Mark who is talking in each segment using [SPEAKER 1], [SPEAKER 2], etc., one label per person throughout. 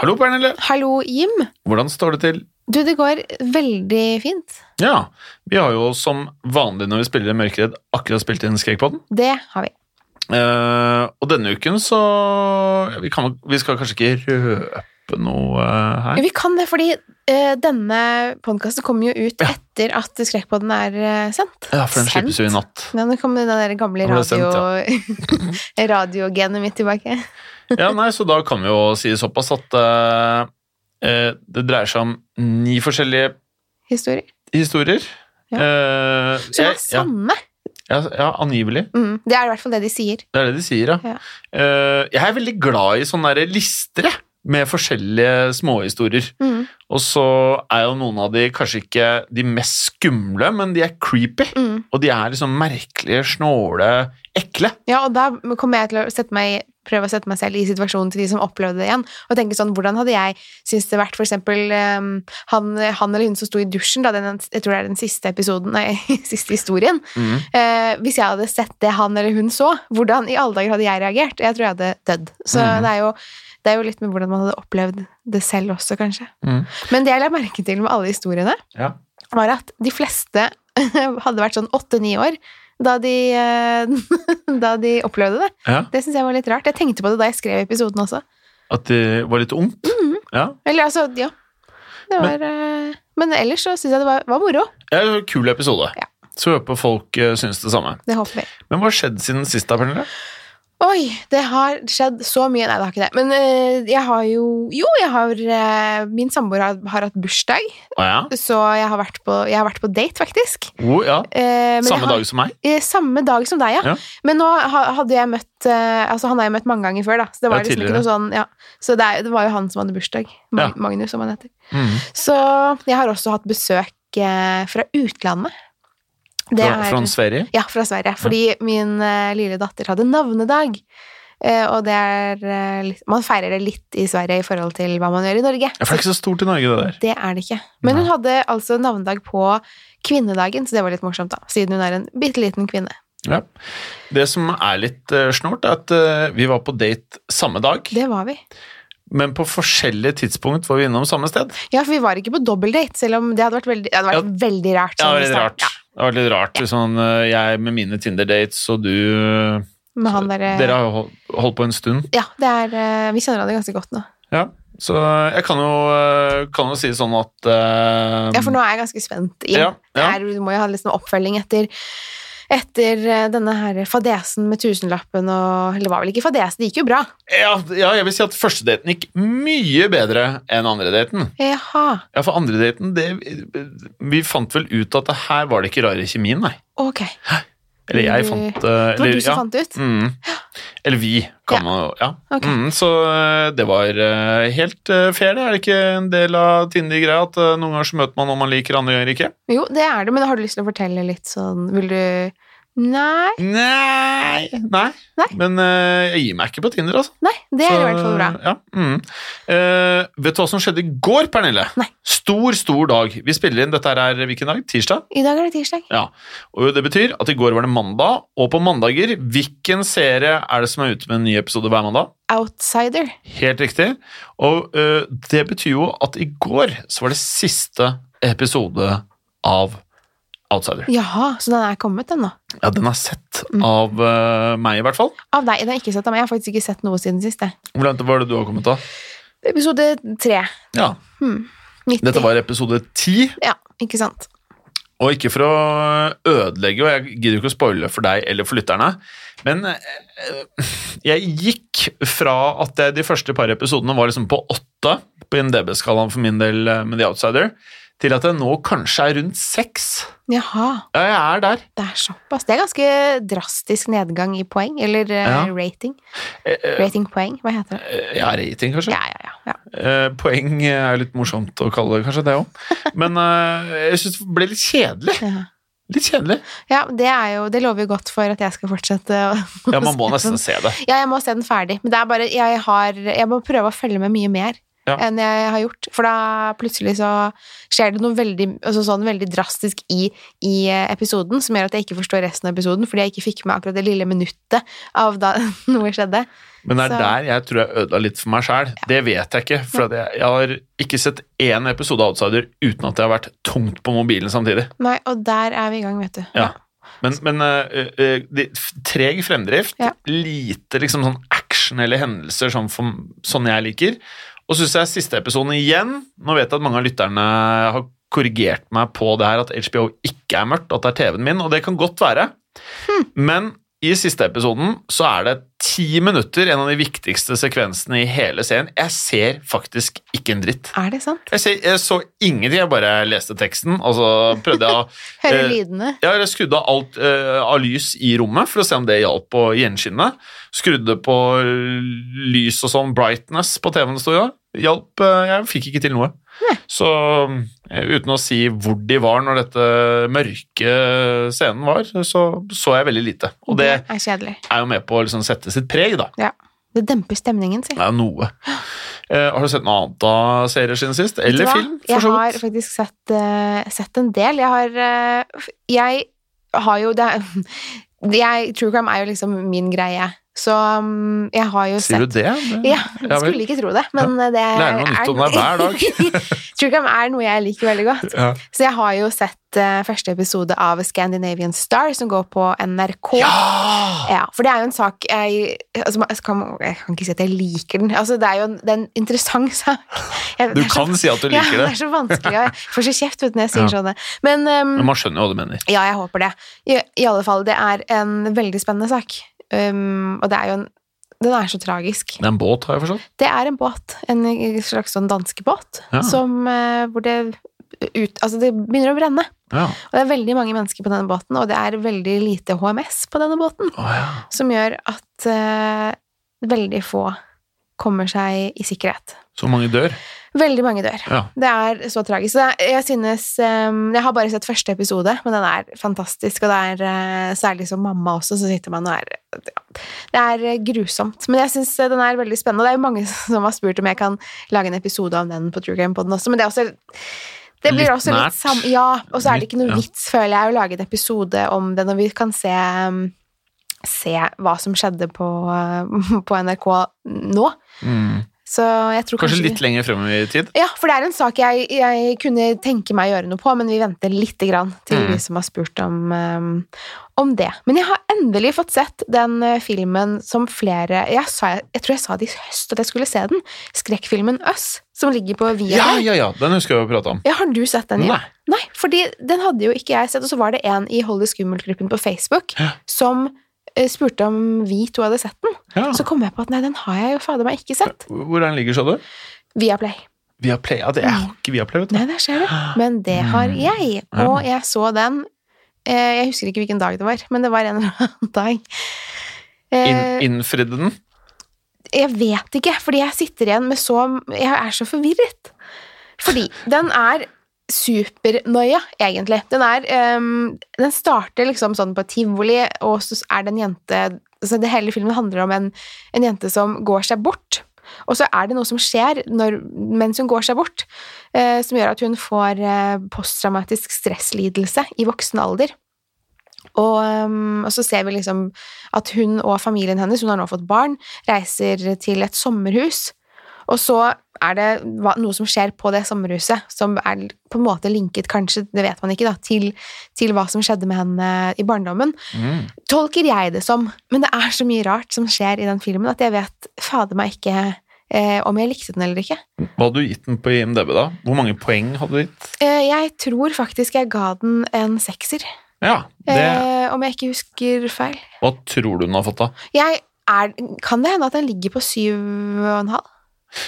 [SPEAKER 1] Hallo, Pernille.
[SPEAKER 2] Hallo, Jim.
[SPEAKER 1] Hvordan står det til?
[SPEAKER 2] Du, det går veldig fint.
[SPEAKER 1] Ja, vi har jo som vanlig når vi spiller i Mørkeredd, akkurat spilt inn Skrekkpodden.
[SPEAKER 2] Det har vi.
[SPEAKER 1] Eh, og denne uken så ja, vi, kan, vi skal kanskje ikke røpe noe eh, her.
[SPEAKER 2] Vi kan det, fordi eh, denne podkasten kommer jo ut
[SPEAKER 1] Ja.
[SPEAKER 2] etter at Skrekkpodden er eh, sendt.
[SPEAKER 1] Ja, for den slippes jo i natt.
[SPEAKER 2] Ja, nå kommer den der gamle
[SPEAKER 1] Nå ble det sendt,
[SPEAKER 2] radio... radiogenet mitt tilbake.
[SPEAKER 1] Ja, nei, så da kan vi jo si såpass at eh, eh, det dreier seg om ni forskjellige
[SPEAKER 2] Historier.
[SPEAKER 1] historier.
[SPEAKER 2] Ja.
[SPEAKER 1] Eh,
[SPEAKER 2] Som
[SPEAKER 1] jeg-
[SPEAKER 2] er samme.
[SPEAKER 1] Ja, ja, ja, angivelig.
[SPEAKER 2] Mm, det er i hvert fall det de sier.
[SPEAKER 1] Det er det de sier, ja.
[SPEAKER 2] Ja.
[SPEAKER 1] Eh, jeg er veldig glad i sånne der lister jeg, med forskjellige småhistorier.
[SPEAKER 2] Mm,
[SPEAKER 1] Og så er jo noen av de kanskje ikke de mest skumle, men de er creepy.
[SPEAKER 2] mm.
[SPEAKER 1] Og de er liksom merkelige, snåle, ekle.
[SPEAKER 2] Ja, og da kommer jeg til å sette meg, prøve å sette meg selv i situasjonen til de som opplevde det igjen, og tenke sånn, hvordan hadde jeg syntes det vært for eksempel ehm, han, han eller hun som sto i dusjen, da, den, jeg tror det er den siste episoden, nei, siste historien,
[SPEAKER 1] Mm.
[SPEAKER 2] eh, hvis jeg hadde sett det han eller hun så, hvordan i alle dager hadde jeg reagert? Jeg tror jeg hadde dødd. Så
[SPEAKER 1] Mhm.
[SPEAKER 2] det, er jo, det er jo litt med hvordan man hadde opplevd det selv også, kanskje.
[SPEAKER 1] Mhm.
[SPEAKER 2] Men det jeg la merke til med alle historiene,
[SPEAKER 1] Ja.
[SPEAKER 2] var at de fleste hadde vært sånn åtte-ni år da de, eh, da de opplevde det.
[SPEAKER 1] Ja,
[SPEAKER 2] Det syns jeg var litt rart. Jeg tenkte på det da jeg skrev episoden også.
[SPEAKER 1] At det var litt ungt. Ja.
[SPEAKER 2] Eller altså, ja. Det var eh, Men ellers så syns jeg det var, var moro.
[SPEAKER 1] ja, det var en kul episode.
[SPEAKER 2] Ja.
[SPEAKER 1] Så håper folk eh, syns det samme.
[SPEAKER 2] Det håper vi.
[SPEAKER 1] Men hva har skjedd siden sist, da, Pernille?
[SPEAKER 2] Oi, det har skjedd så mye. Nei, det har ikke det. Men eh, jeg har jo Jo, jeg har eh, Min samboer har, har hatt bursdag,
[SPEAKER 1] Å ja.
[SPEAKER 2] så jeg har vært på, jeg har vært på date, faktisk.
[SPEAKER 1] Oh, ja.
[SPEAKER 2] Eh, men jeg
[SPEAKER 1] Samme
[SPEAKER 2] har-
[SPEAKER 1] dag som meg.
[SPEAKER 2] Eh, Samme dag som deg, ja.
[SPEAKER 1] Ja.
[SPEAKER 2] Men nå ha- hadde jeg møtt eh, Altså, han har jeg møtt mange ganger før, da. Så det var
[SPEAKER 1] Ja,
[SPEAKER 2] liksom ikke
[SPEAKER 1] tidligere.
[SPEAKER 2] noe sånn ja. Så det, er, det var jo han som hadde bursdag. Ma-
[SPEAKER 1] Ja.
[SPEAKER 2] Magnus, som han heter.
[SPEAKER 1] Mhm.
[SPEAKER 2] Så jeg har også hatt besøk eh, fra utlandet. Det
[SPEAKER 1] Fra, fra
[SPEAKER 2] er
[SPEAKER 1] Sverige.
[SPEAKER 2] Ja, fra Sverige. Fordi min eh, lille datter hadde navnedag. Eh, og det er eh, litt, Man feirer det litt i Sverige i forhold til hva man gjør i Norge.
[SPEAKER 1] Ja, for det er ikke så stort i Norge, det der.
[SPEAKER 2] Det er det ikke. Men hun hadde altså navnedag på kvinnedagen, så det var litt morsomt, da. Siden hun er en bitte liten kvinne.
[SPEAKER 1] Ja. Det som er litt eh, snålt, er at eh, vi var på date samme dag,
[SPEAKER 2] Det var vi.
[SPEAKER 1] men på forskjellige tidspunkt var vi innom samme sted.
[SPEAKER 2] Ja, for vi var ikke på dobbeltdate, selv om det hadde vært veldig, det hadde vært veldig rart.
[SPEAKER 1] Det
[SPEAKER 2] sånn
[SPEAKER 1] var
[SPEAKER 2] i
[SPEAKER 1] litt
[SPEAKER 2] starten.
[SPEAKER 1] rart. Det var litt rart. Sånn, eh, jeg med mine Tinder-dates, og du eh,
[SPEAKER 2] Ja, med han der, eh,
[SPEAKER 1] Dere har jo hol- holdt på en stund.
[SPEAKER 2] Ja, det er, eh, vi kjenner han jo ganske godt nå.
[SPEAKER 1] Ja. Så eh, jeg kan jo, eh, kan jo si sånn at eh,
[SPEAKER 2] Ja, for nå er jeg ganske spent. Jim.
[SPEAKER 1] Ja,
[SPEAKER 2] Det
[SPEAKER 1] ja.
[SPEAKER 2] er, du må jo ha litt sånn oppfølging etter, etter eh, denne her fadesen med tusenlappen og Eller det var vel ikke fadesen, det gikk jo bra.
[SPEAKER 1] ja, ja, jeg vil si at første daten gikk mye bedre enn andre daten.
[SPEAKER 2] Jaha,
[SPEAKER 1] Ja, for andre daten, det Vi fant vel ut at det her var det ikke rare kjemien, nei.
[SPEAKER 2] ok.
[SPEAKER 1] Eller jeg
[SPEAKER 2] Du-
[SPEAKER 1] fant eh,
[SPEAKER 2] Det var
[SPEAKER 1] eller,
[SPEAKER 2] du som
[SPEAKER 1] ja.
[SPEAKER 2] fant det ut?
[SPEAKER 1] Mm. Eller vi, kan
[SPEAKER 2] Ja.
[SPEAKER 1] man jo. Ja.
[SPEAKER 2] Ok.
[SPEAKER 1] Mm, så eh, det var eh, helt eh, fair, det. Er det ikke en del av Tinder-greia at eh, noen ganger så møter man noen man liker, andre ganger ikke?
[SPEAKER 2] Jo, det er det, men har du lyst til å fortelle litt sånn Vil du Nei.
[SPEAKER 1] Nei! Nei.
[SPEAKER 2] Nei.
[SPEAKER 1] Men eh, jeg gir meg ikke på Tinder, altså.
[SPEAKER 2] Nei, det er
[SPEAKER 1] Så,
[SPEAKER 2] i hvert fall bra.
[SPEAKER 1] Ja. Mm. Eh, vet du hva som skjedde i går, Pernille?
[SPEAKER 2] Nei.
[SPEAKER 1] Stor, stor dag. Vi spiller inn, dette her er hvilken dag? Tirsdag?
[SPEAKER 2] I dag er det tirsdag.
[SPEAKER 1] Ja, og Det betyr at i går var det mandag, og på mandager Hvilken serie er det som er ute med en ny episode hver mandag?
[SPEAKER 2] Outsider.
[SPEAKER 1] Helt riktig. Og ø, det betyr jo at i går så var det siste episode av Outsider. Mm.
[SPEAKER 2] Jaha, så den er kommet, den nå.
[SPEAKER 1] Ja, den er sett av ø, meg, i hvert fall.
[SPEAKER 2] Av deg. Den har jeg ikke sett av meg. Jeg har faktisk ikke sett noe siden sist. jeg.
[SPEAKER 1] Hvor langt var det du har kommet da?
[SPEAKER 2] Episode tre.
[SPEAKER 1] Ja,
[SPEAKER 2] 90.
[SPEAKER 1] Dette var episode ti,
[SPEAKER 2] Ja, ikke sant.
[SPEAKER 1] og ikke for å ødelegge, og jeg gidder ikke å spoile for deg eller for lytterne, men ø, jeg gikk fra at jeg, de første par episodene var liksom på åtte på IMDb-skalaen for min del ø, med The Outsider, til at jeg nå kanskje er rundt seks.
[SPEAKER 2] Jaha.
[SPEAKER 1] Ja, jeg er der.
[SPEAKER 2] Det er såpass. Det er ganske drastisk nedgang i poeng, eller eh,
[SPEAKER 1] Ja.
[SPEAKER 2] rating.
[SPEAKER 1] Eh, eh,
[SPEAKER 2] Ratingpoeng, hva heter det?
[SPEAKER 1] Eh, Ja, rating, kanskje.
[SPEAKER 2] Ja, ja, ja. ja.
[SPEAKER 1] Eh, poeng er litt morsomt å kalle det, kanskje det òg. Men eh, jeg syns det ble litt kjedelig.
[SPEAKER 2] Ja.
[SPEAKER 1] Litt kjedelig.
[SPEAKER 2] Ja, det, er jo, det lover jo godt for at jeg skal fortsette. å-
[SPEAKER 1] Ja, man må nesten se det.
[SPEAKER 2] Ja, jeg må se den ferdig. Men det er bare, jeg, har, jeg må prøve å følge med mye mer.
[SPEAKER 1] Ja.
[SPEAKER 2] enn jeg har gjort. For da plutselig så skjer det noe veldig, altså sånn veldig drastisk i, i eh, episoden som gjør at jeg ikke forstår resten av episoden, fordi jeg ikke fikk med akkurat det lille minuttet av da noe skjedde.
[SPEAKER 1] Men det er
[SPEAKER 2] Så-
[SPEAKER 1] der jeg tror jeg ødela litt for meg sjæl. Det vet jeg ikke. For at jeg, jeg har ikke sett én episode av Outsider uten at jeg har vært tungt på mobilen samtidig.
[SPEAKER 2] Nei, og der er vi i gang, vet du.
[SPEAKER 1] Ja. Men, men eh, eh, de, f- treg fremdrift,
[SPEAKER 2] Ja.
[SPEAKER 1] lite liksom sånn action eller hendelser sånn, for, sånn jeg liker. Og så syns jeg siste episoden igjen Nå vet jeg at mange av lytterne har korrigert meg på det her at HBO ikke er mørkt, at det er TV-en min, og det kan godt være. Men i siste episoden så er det ti minutter, en av de viktigste sekvensene i hele serien. Jeg ser faktisk ikke en dritt.
[SPEAKER 2] Er det sant?
[SPEAKER 1] Jeg, ser, jeg så ingenting, jeg bare leste teksten, og så prøvde jeg å
[SPEAKER 2] Hører
[SPEAKER 1] Eh,
[SPEAKER 2] lydene.
[SPEAKER 1] ja, jeg skrudde av alt eh, av lys i rommet for å se om det hjalp å gjenskinne. Skrudde på eh, lys og sånn, brightness på TV-en det sto jo. Hjalp eh, Jeg fikk ikke til noe. Så eh, uten å si hvor de var når dette mørke scenen var, så så jeg veldig lite. Og det
[SPEAKER 2] Det er kjedelig.
[SPEAKER 1] er jo med på å liksom sette sitt preg, da.
[SPEAKER 2] Ja. Det demper stemningen, si.
[SPEAKER 1] Det er jo noe. Eh, har du sett noe annet av serier siden sist?
[SPEAKER 2] Vet du
[SPEAKER 1] Eller
[SPEAKER 2] hva?
[SPEAKER 1] film, for så
[SPEAKER 2] Jeg har
[SPEAKER 1] vidt?
[SPEAKER 2] faktisk sett, eh, sett en del. Jeg har eh, f- Jeg har jo det jeg, True crime er jo liksom min greie. Så mm, jeg har jo
[SPEAKER 1] Sier
[SPEAKER 2] sett
[SPEAKER 1] du det? Det- Ja
[SPEAKER 2] ja, jeg
[SPEAKER 1] vel.
[SPEAKER 2] skulle ikke tro det, men eh, det
[SPEAKER 1] Lærer noe nytt om deg hver
[SPEAKER 2] dag. True crime er noe jeg liker veldig godt.
[SPEAKER 1] Ja.
[SPEAKER 2] Så jeg har jo sett eh, første episode av Scandinavian Star, som går på NRK.
[SPEAKER 1] ja!
[SPEAKER 2] Ja, for det er jo en sak jeg altså, man- jeg, kan, jeg kan ikke si at jeg liker den. Altså, det er jo en, det er en interessant sak. Jeg,
[SPEAKER 1] Du
[SPEAKER 2] det er så-
[SPEAKER 1] kan si at du liker
[SPEAKER 2] ja,
[SPEAKER 1] det.
[SPEAKER 2] det er så vanskelig. Jeg får så kjeft vet, du, når jeg sier
[SPEAKER 1] Ja. Mm.
[SPEAKER 2] sånne. Men um,
[SPEAKER 1] Men man skjønner jo hva du mener.
[SPEAKER 2] ja, jeg håper det. I, I alle fall, det er en veldig spennende sak. Um, og det er jo en Den er så tragisk.
[SPEAKER 1] Det er en båt, har jeg forstått.
[SPEAKER 2] Det er en båt, en slags sånn danskebåt,
[SPEAKER 1] Ja.
[SPEAKER 2] som eh, hvor det ut, Altså, det begynner å brenne.
[SPEAKER 1] Ja.
[SPEAKER 2] Og det er veldig mange mennesker på denne båten, og det er veldig lite HMS på denne båten.
[SPEAKER 1] Å, ja.
[SPEAKER 2] som gjør at eh, veldig få kommer seg i sikkerhet.
[SPEAKER 1] Så mange dør.
[SPEAKER 2] Veldig mange dør.
[SPEAKER 1] Ja.
[SPEAKER 2] Det er så tragisk. Så jeg, jeg synes eh, Jeg har bare sett første episode, men den er fantastisk, og det er eh, særlig som mamma også, så sitter man og er ja, Det er eh, grusomt. Men jeg syns den er veldig spennende, og det er jo mange som har spurt om jeg kan lage en episode om den på True Crime Podden også, men det er også det blir
[SPEAKER 1] Litt
[SPEAKER 2] også
[SPEAKER 1] nært.
[SPEAKER 2] litt sam... Ja, og så er det ikke
[SPEAKER 1] Litt,
[SPEAKER 2] noe
[SPEAKER 1] ja.
[SPEAKER 2] vits, føler jeg, å lage en episode om det når vi kan se eh, se hva som skjedde på, eh, på NRK nå. Så jeg tror
[SPEAKER 1] Mm. Kanskje
[SPEAKER 2] kanskje,
[SPEAKER 1] litt lenger frem i tid.
[SPEAKER 2] Ja, for det er en sak jeg, jeg kunne tenke meg å gjøre noe på, men vi venter lite grann til
[SPEAKER 1] Mm.
[SPEAKER 2] de som har spurt om, eh, om det. Men jeg har endelig fått sett den eh, filmen som flere Jeg, sa, jeg tror jeg sa det i høst at jeg skulle se den. Skrekkfilmen Us, som ligger på Via.
[SPEAKER 1] Ja, ja, ja! Den husker jeg å prate om.
[SPEAKER 2] Ja, har du sett den?
[SPEAKER 1] Nei.
[SPEAKER 2] Ja? Nei, fordi den hadde jo ikke jeg sett, og så var det en i Hold det skummelt-gruppen på Facebook
[SPEAKER 1] Ja.
[SPEAKER 2] som eh, spurte om vi to hadde sett den.
[SPEAKER 1] Ja.
[SPEAKER 2] Så kom jeg på at nei, den har jeg jo fader meg ikke sett.
[SPEAKER 1] Hvor er den ligger, sa du?
[SPEAKER 2] Viaplay.
[SPEAKER 1] Viaplay? Ja, det jeg
[SPEAKER 2] Mm.
[SPEAKER 1] har ikke Viaplay, vet du.
[SPEAKER 2] Nei, der ser du. Men det har jeg. Og jeg så den eh, Jeg husker ikke hvilken dag det var, men det var en eller annen dag. Eh,
[SPEAKER 1] In, innfridde den?
[SPEAKER 2] Jeg vet ikke, fordi jeg sitter igjen med så Jeg er så forvirret. Fordi den er supernøya, egentlig. Den er ehm, Den starter liksom sånn på et tivoli, og så er det en jente så det Hele filmen handler om en, en jente som går seg bort. Og så er det noe som skjer når, mens hun går seg bort, eh, som gjør at hun får eh, posttraumatisk stresslidelse i voksen alder. Og, ehm, og så ser vi liksom at hun og familien hennes, hun har nå fått barn, reiser til et sommerhus. Og så er det hva- noe som skjer på det sommerhuset, som er på en måte linket, kanskje, det vet man ikke, da, til, til hva som skjedde med henne i barndommen.
[SPEAKER 1] Mm.
[SPEAKER 2] Tolker jeg det som. Men det er så mye rart som skjer i den filmen, at jeg vet fader meg ikke eh, om jeg likte den eller ikke.
[SPEAKER 1] Hva hadde du gitt den på IMDb, da? Hvor mange poeng hadde du gitt?
[SPEAKER 2] Eh, jeg tror faktisk jeg ga den en sekser,
[SPEAKER 1] Ja, det,
[SPEAKER 2] eh, om jeg ikke husker feil.
[SPEAKER 1] Hva tror du den har fått, da?
[SPEAKER 2] Jeg er, kan det hende at den ligger på syv og en halv?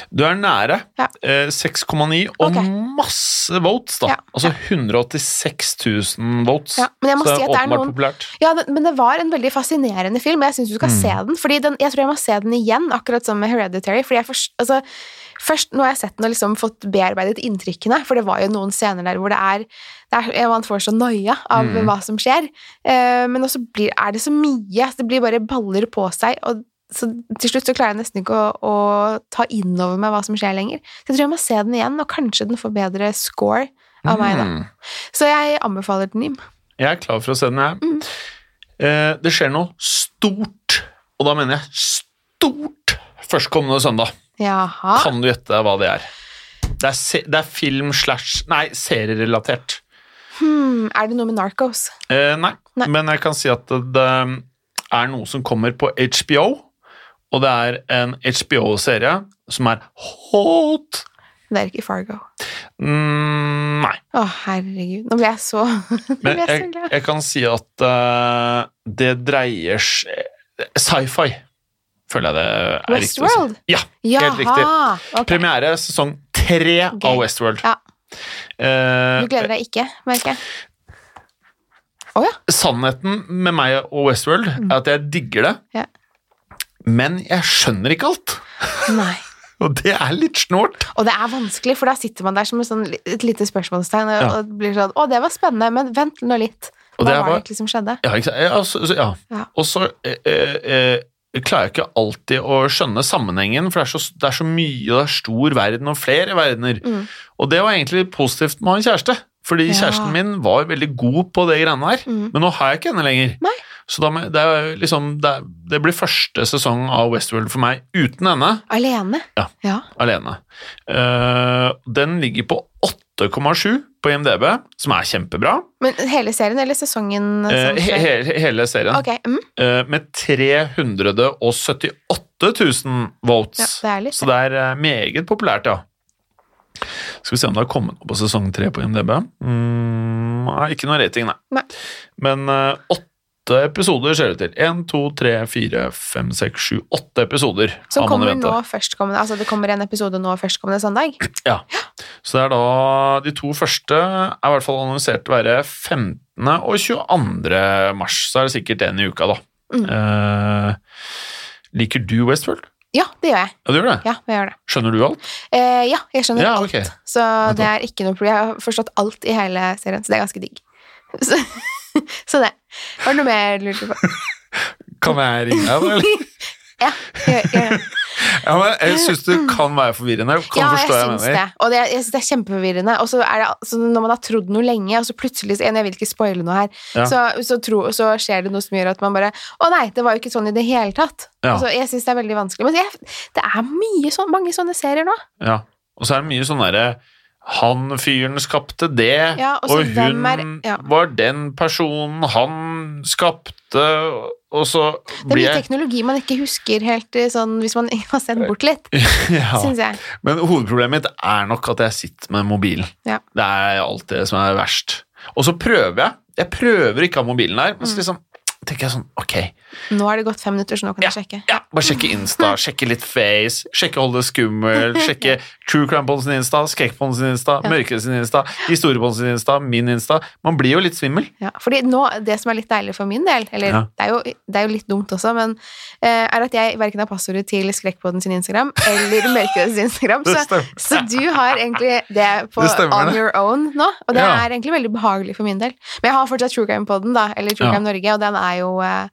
[SPEAKER 1] Du er nære.
[SPEAKER 2] Ja.
[SPEAKER 1] Eh, 6,9 og
[SPEAKER 2] Ok.
[SPEAKER 1] masse votes, da.
[SPEAKER 2] Ja,
[SPEAKER 1] Altså 186 000 votes.
[SPEAKER 2] Ja, men jeg må
[SPEAKER 1] Så det
[SPEAKER 2] si
[SPEAKER 1] er
[SPEAKER 2] at det er
[SPEAKER 1] åpenbart
[SPEAKER 2] noen
[SPEAKER 1] populært.
[SPEAKER 2] Ja, den- men det var en veldig fascinerende film, og jeg syns du
[SPEAKER 1] Mm.
[SPEAKER 2] skal se den. fordi den, Jeg tror jeg må se den igjen, akkurat som med Hereditary. fordi jeg forst, altså, Først nå har jeg sett den og liksom fått bearbeidet inntrykkene, for det var jo noen scener der hvor det er, det er Man får så noia av
[SPEAKER 1] Mm.
[SPEAKER 2] hva som skjer. Eh, men også blir, er det så mye. Det blir bare baller på seg, og så til slutt så klarer jeg nesten ikke å, å ta inn over meg hva som skjer lenger. Så jeg tror jeg må se den igjen, og kanskje den får bedre score av meg, da.
[SPEAKER 1] Mm.
[SPEAKER 2] Så jeg anbefaler den, Jim.
[SPEAKER 1] Jeg er klar for å se den, jeg. Eh, det skjer noe stort, og da mener jeg stort, førstkommende søndag.
[SPEAKER 2] Jaha.
[SPEAKER 1] Kan du gjette deg hva det er? Det er, se det er film slash Nei, serierelatert.
[SPEAKER 2] Hmm, er det noe med Narcos?
[SPEAKER 1] Eh, nei.
[SPEAKER 2] Nei.
[SPEAKER 1] men jeg kan si at det er noe som kommer på HBO. Og det er en HBO-serie som er hot
[SPEAKER 2] Det er ikke Fargo.
[SPEAKER 1] mm, Nei.
[SPEAKER 2] Å, herregud. Nå ble jeg så Nå ble
[SPEAKER 1] Men
[SPEAKER 2] jeg
[SPEAKER 1] jeg,
[SPEAKER 2] så glad.
[SPEAKER 1] jeg kan si at eh, det dreier seg Sci-fi, føler jeg det er riktig å si.
[SPEAKER 2] Westworld?
[SPEAKER 1] Ja, helt riktig.
[SPEAKER 2] Jaha. ok.
[SPEAKER 1] Premiere sesong tre
[SPEAKER 2] Gøy.
[SPEAKER 1] av Westworld.
[SPEAKER 2] Ja.
[SPEAKER 1] Eh,
[SPEAKER 2] Du gleder deg ikke, merker jeg. Å ja.
[SPEAKER 1] Sannheten med meg og Westworld er at jeg digger det,
[SPEAKER 2] Mm. Ja.
[SPEAKER 1] men jeg skjønner ikke alt.
[SPEAKER 2] Nei.
[SPEAKER 1] Og det er litt snålt.
[SPEAKER 2] Og det er vanskelig, for da sitter man der som et, sånn, li- et lite spørsmålstegn og,
[SPEAKER 1] Ja.
[SPEAKER 2] og blir sånn Å, det var spennende, men vent nå litt. Hva
[SPEAKER 1] Og det er
[SPEAKER 2] var det
[SPEAKER 1] bare-
[SPEAKER 2] egentlig som skjedde?
[SPEAKER 1] Ja, ikke sant? Ja, altså, så- så- ja.
[SPEAKER 2] Ja.
[SPEAKER 1] Og så eh, eh, eh, klarer jeg ikke alltid å skjønne sammenhengen, for det er så, det er så mye, og det er stor verden og flere verdener.
[SPEAKER 2] Mm.
[SPEAKER 1] Og det var egentlig positivt med å ha en kjæreste, fordi
[SPEAKER 2] Ja.
[SPEAKER 1] kjæresten min var veldig god på det greiene her,
[SPEAKER 2] Mm.
[SPEAKER 1] men nå har jeg ikke henne lenger.
[SPEAKER 2] Nei.
[SPEAKER 1] Så da, må jeg- det, er jo liksom, det, er, det blir første sesong av Westworld for meg uten henne.
[SPEAKER 2] Alene?
[SPEAKER 1] Ja. alene. Eh, den ligger på 8,7 på IMDb, som er kjempebra.
[SPEAKER 2] Men hele serien eller sesongen?
[SPEAKER 1] Eh,
[SPEAKER 2] som
[SPEAKER 1] he
[SPEAKER 2] skjer?
[SPEAKER 1] he hele serien.
[SPEAKER 2] Ok, mm,
[SPEAKER 1] Eh, med 378 000 votes.
[SPEAKER 2] ja, det er litt
[SPEAKER 1] Så det er eh, meget populært, ja. Skal vi se om det har kommet noe på sesong tre på IMDb. Mm, nei, ikke noe rating, nei.
[SPEAKER 2] Nei.
[SPEAKER 1] Men eh, åtte episoder ser det ut til. Én, to, tre, fire, fem, seks, sju, åtte episoder. har man å
[SPEAKER 2] Som kommer
[SPEAKER 1] vente.
[SPEAKER 2] nå førstkommende Altså det kommer en episode nå førstkommende søndag.
[SPEAKER 1] Så det er da De to første er i hvert fall annonsert til å være 15. og 22. mars. Så er det sikkert en i uka, da.
[SPEAKER 2] Mm.
[SPEAKER 1] Eh, liker du Westworld?
[SPEAKER 2] Ja, det gjør jeg.
[SPEAKER 1] Ja, du gjør det?
[SPEAKER 2] Ja, jeg gjør det.
[SPEAKER 1] Skjønner du alt?
[SPEAKER 2] Eh, ja, jeg skjønner
[SPEAKER 1] Ja,
[SPEAKER 2] alt.
[SPEAKER 1] ok.
[SPEAKER 2] Så det er ikke noe problem. Jeg har forstått alt i hele serien, så det er ganske digg. Så, så det. Var det noe mer du lurte på?
[SPEAKER 1] Kan jeg ringe deg, da? eller?
[SPEAKER 2] Ja, jeg, jeg,
[SPEAKER 1] Ja, men jeg syns det kan være forvirrende. Kan
[SPEAKER 2] ja,
[SPEAKER 1] du forstå hva jeg
[SPEAKER 2] syns
[SPEAKER 1] mener.
[SPEAKER 2] det. Og det, jeg syns det er kjempeforvirrende. Og så er det altså, når man har trodd noe lenge, og så plutselig så- Jeg vil ikke spoile noe her.
[SPEAKER 1] Ja.
[SPEAKER 2] Så, så, tro, så skjer det noe som gjør at man bare Å nei, det var jo ikke sånn i det hele tatt.
[SPEAKER 1] Ja.
[SPEAKER 2] Så jeg syns det er veldig vanskelig. Men jeg, det er mye sånn, mange sånne serier nå.
[SPEAKER 1] Ja. Og så er det mye sånn derre han fyren skapte det,
[SPEAKER 2] Ja, og
[SPEAKER 1] og,
[SPEAKER 2] så
[SPEAKER 1] hun
[SPEAKER 2] hvem er- ja.
[SPEAKER 1] var den personen han skapte, og så
[SPEAKER 2] Det er
[SPEAKER 1] blir
[SPEAKER 2] mye
[SPEAKER 1] jeg
[SPEAKER 2] teknologi man ikke husker helt eh, sånn hvis man har sett bort litt,
[SPEAKER 1] ja.
[SPEAKER 2] syns jeg.
[SPEAKER 1] Men hovedproblemet mitt er nok at jeg sitter med mobilen.
[SPEAKER 2] Ja.
[SPEAKER 1] Det er alt det som er verst. Og så prøver jeg. Jeg prøver ikke å ha mobilen der,
[SPEAKER 2] Mm.
[SPEAKER 1] men så liksom tenker jeg sånn Ok,
[SPEAKER 2] Nå har det gått fem minutter, så nå kan jeg sjekke.
[SPEAKER 1] ja, bare sjekke Insta, sjekke litt Face, sjekke Hold det skummelt, sjekke True Crime på sin Insta, Skrekk på sin Insta,
[SPEAKER 2] Ja.
[SPEAKER 1] Mørke sin Insta, Historie på sin Insta, min Insta. Man blir jo litt svimmel.
[SPEAKER 2] Ja, fordi nå, det som er litt deilig for min del, eller
[SPEAKER 1] Ja.
[SPEAKER 2] det, er jo, det er jo litt dumt også, men eh, er at jeg verken har passordet til Skrekkpodden sin Instagram eller Mørkedes sin Instagram,
[SPEAKER 1] Det
[SPEAKER 2] så,
[SPEAKER 1] stemmer.
[SPEAKER 2] så du har egentlig det på
[SPEAKER 1] Det stemmer,
[SPEAKER 2] on
[SPEAKER 1] det.
[SPEAKER 2] your own nå, og det
[SPEAKER 1] Ja.
[SPEAKER 2] er egentlig veldig behagelig for min del. Men jeg har fortsatt True Crime-podden da, eller True
[SPEAKER 1] Ja.
[SPEAKER 2] Crime Norge, og den er jo, eh,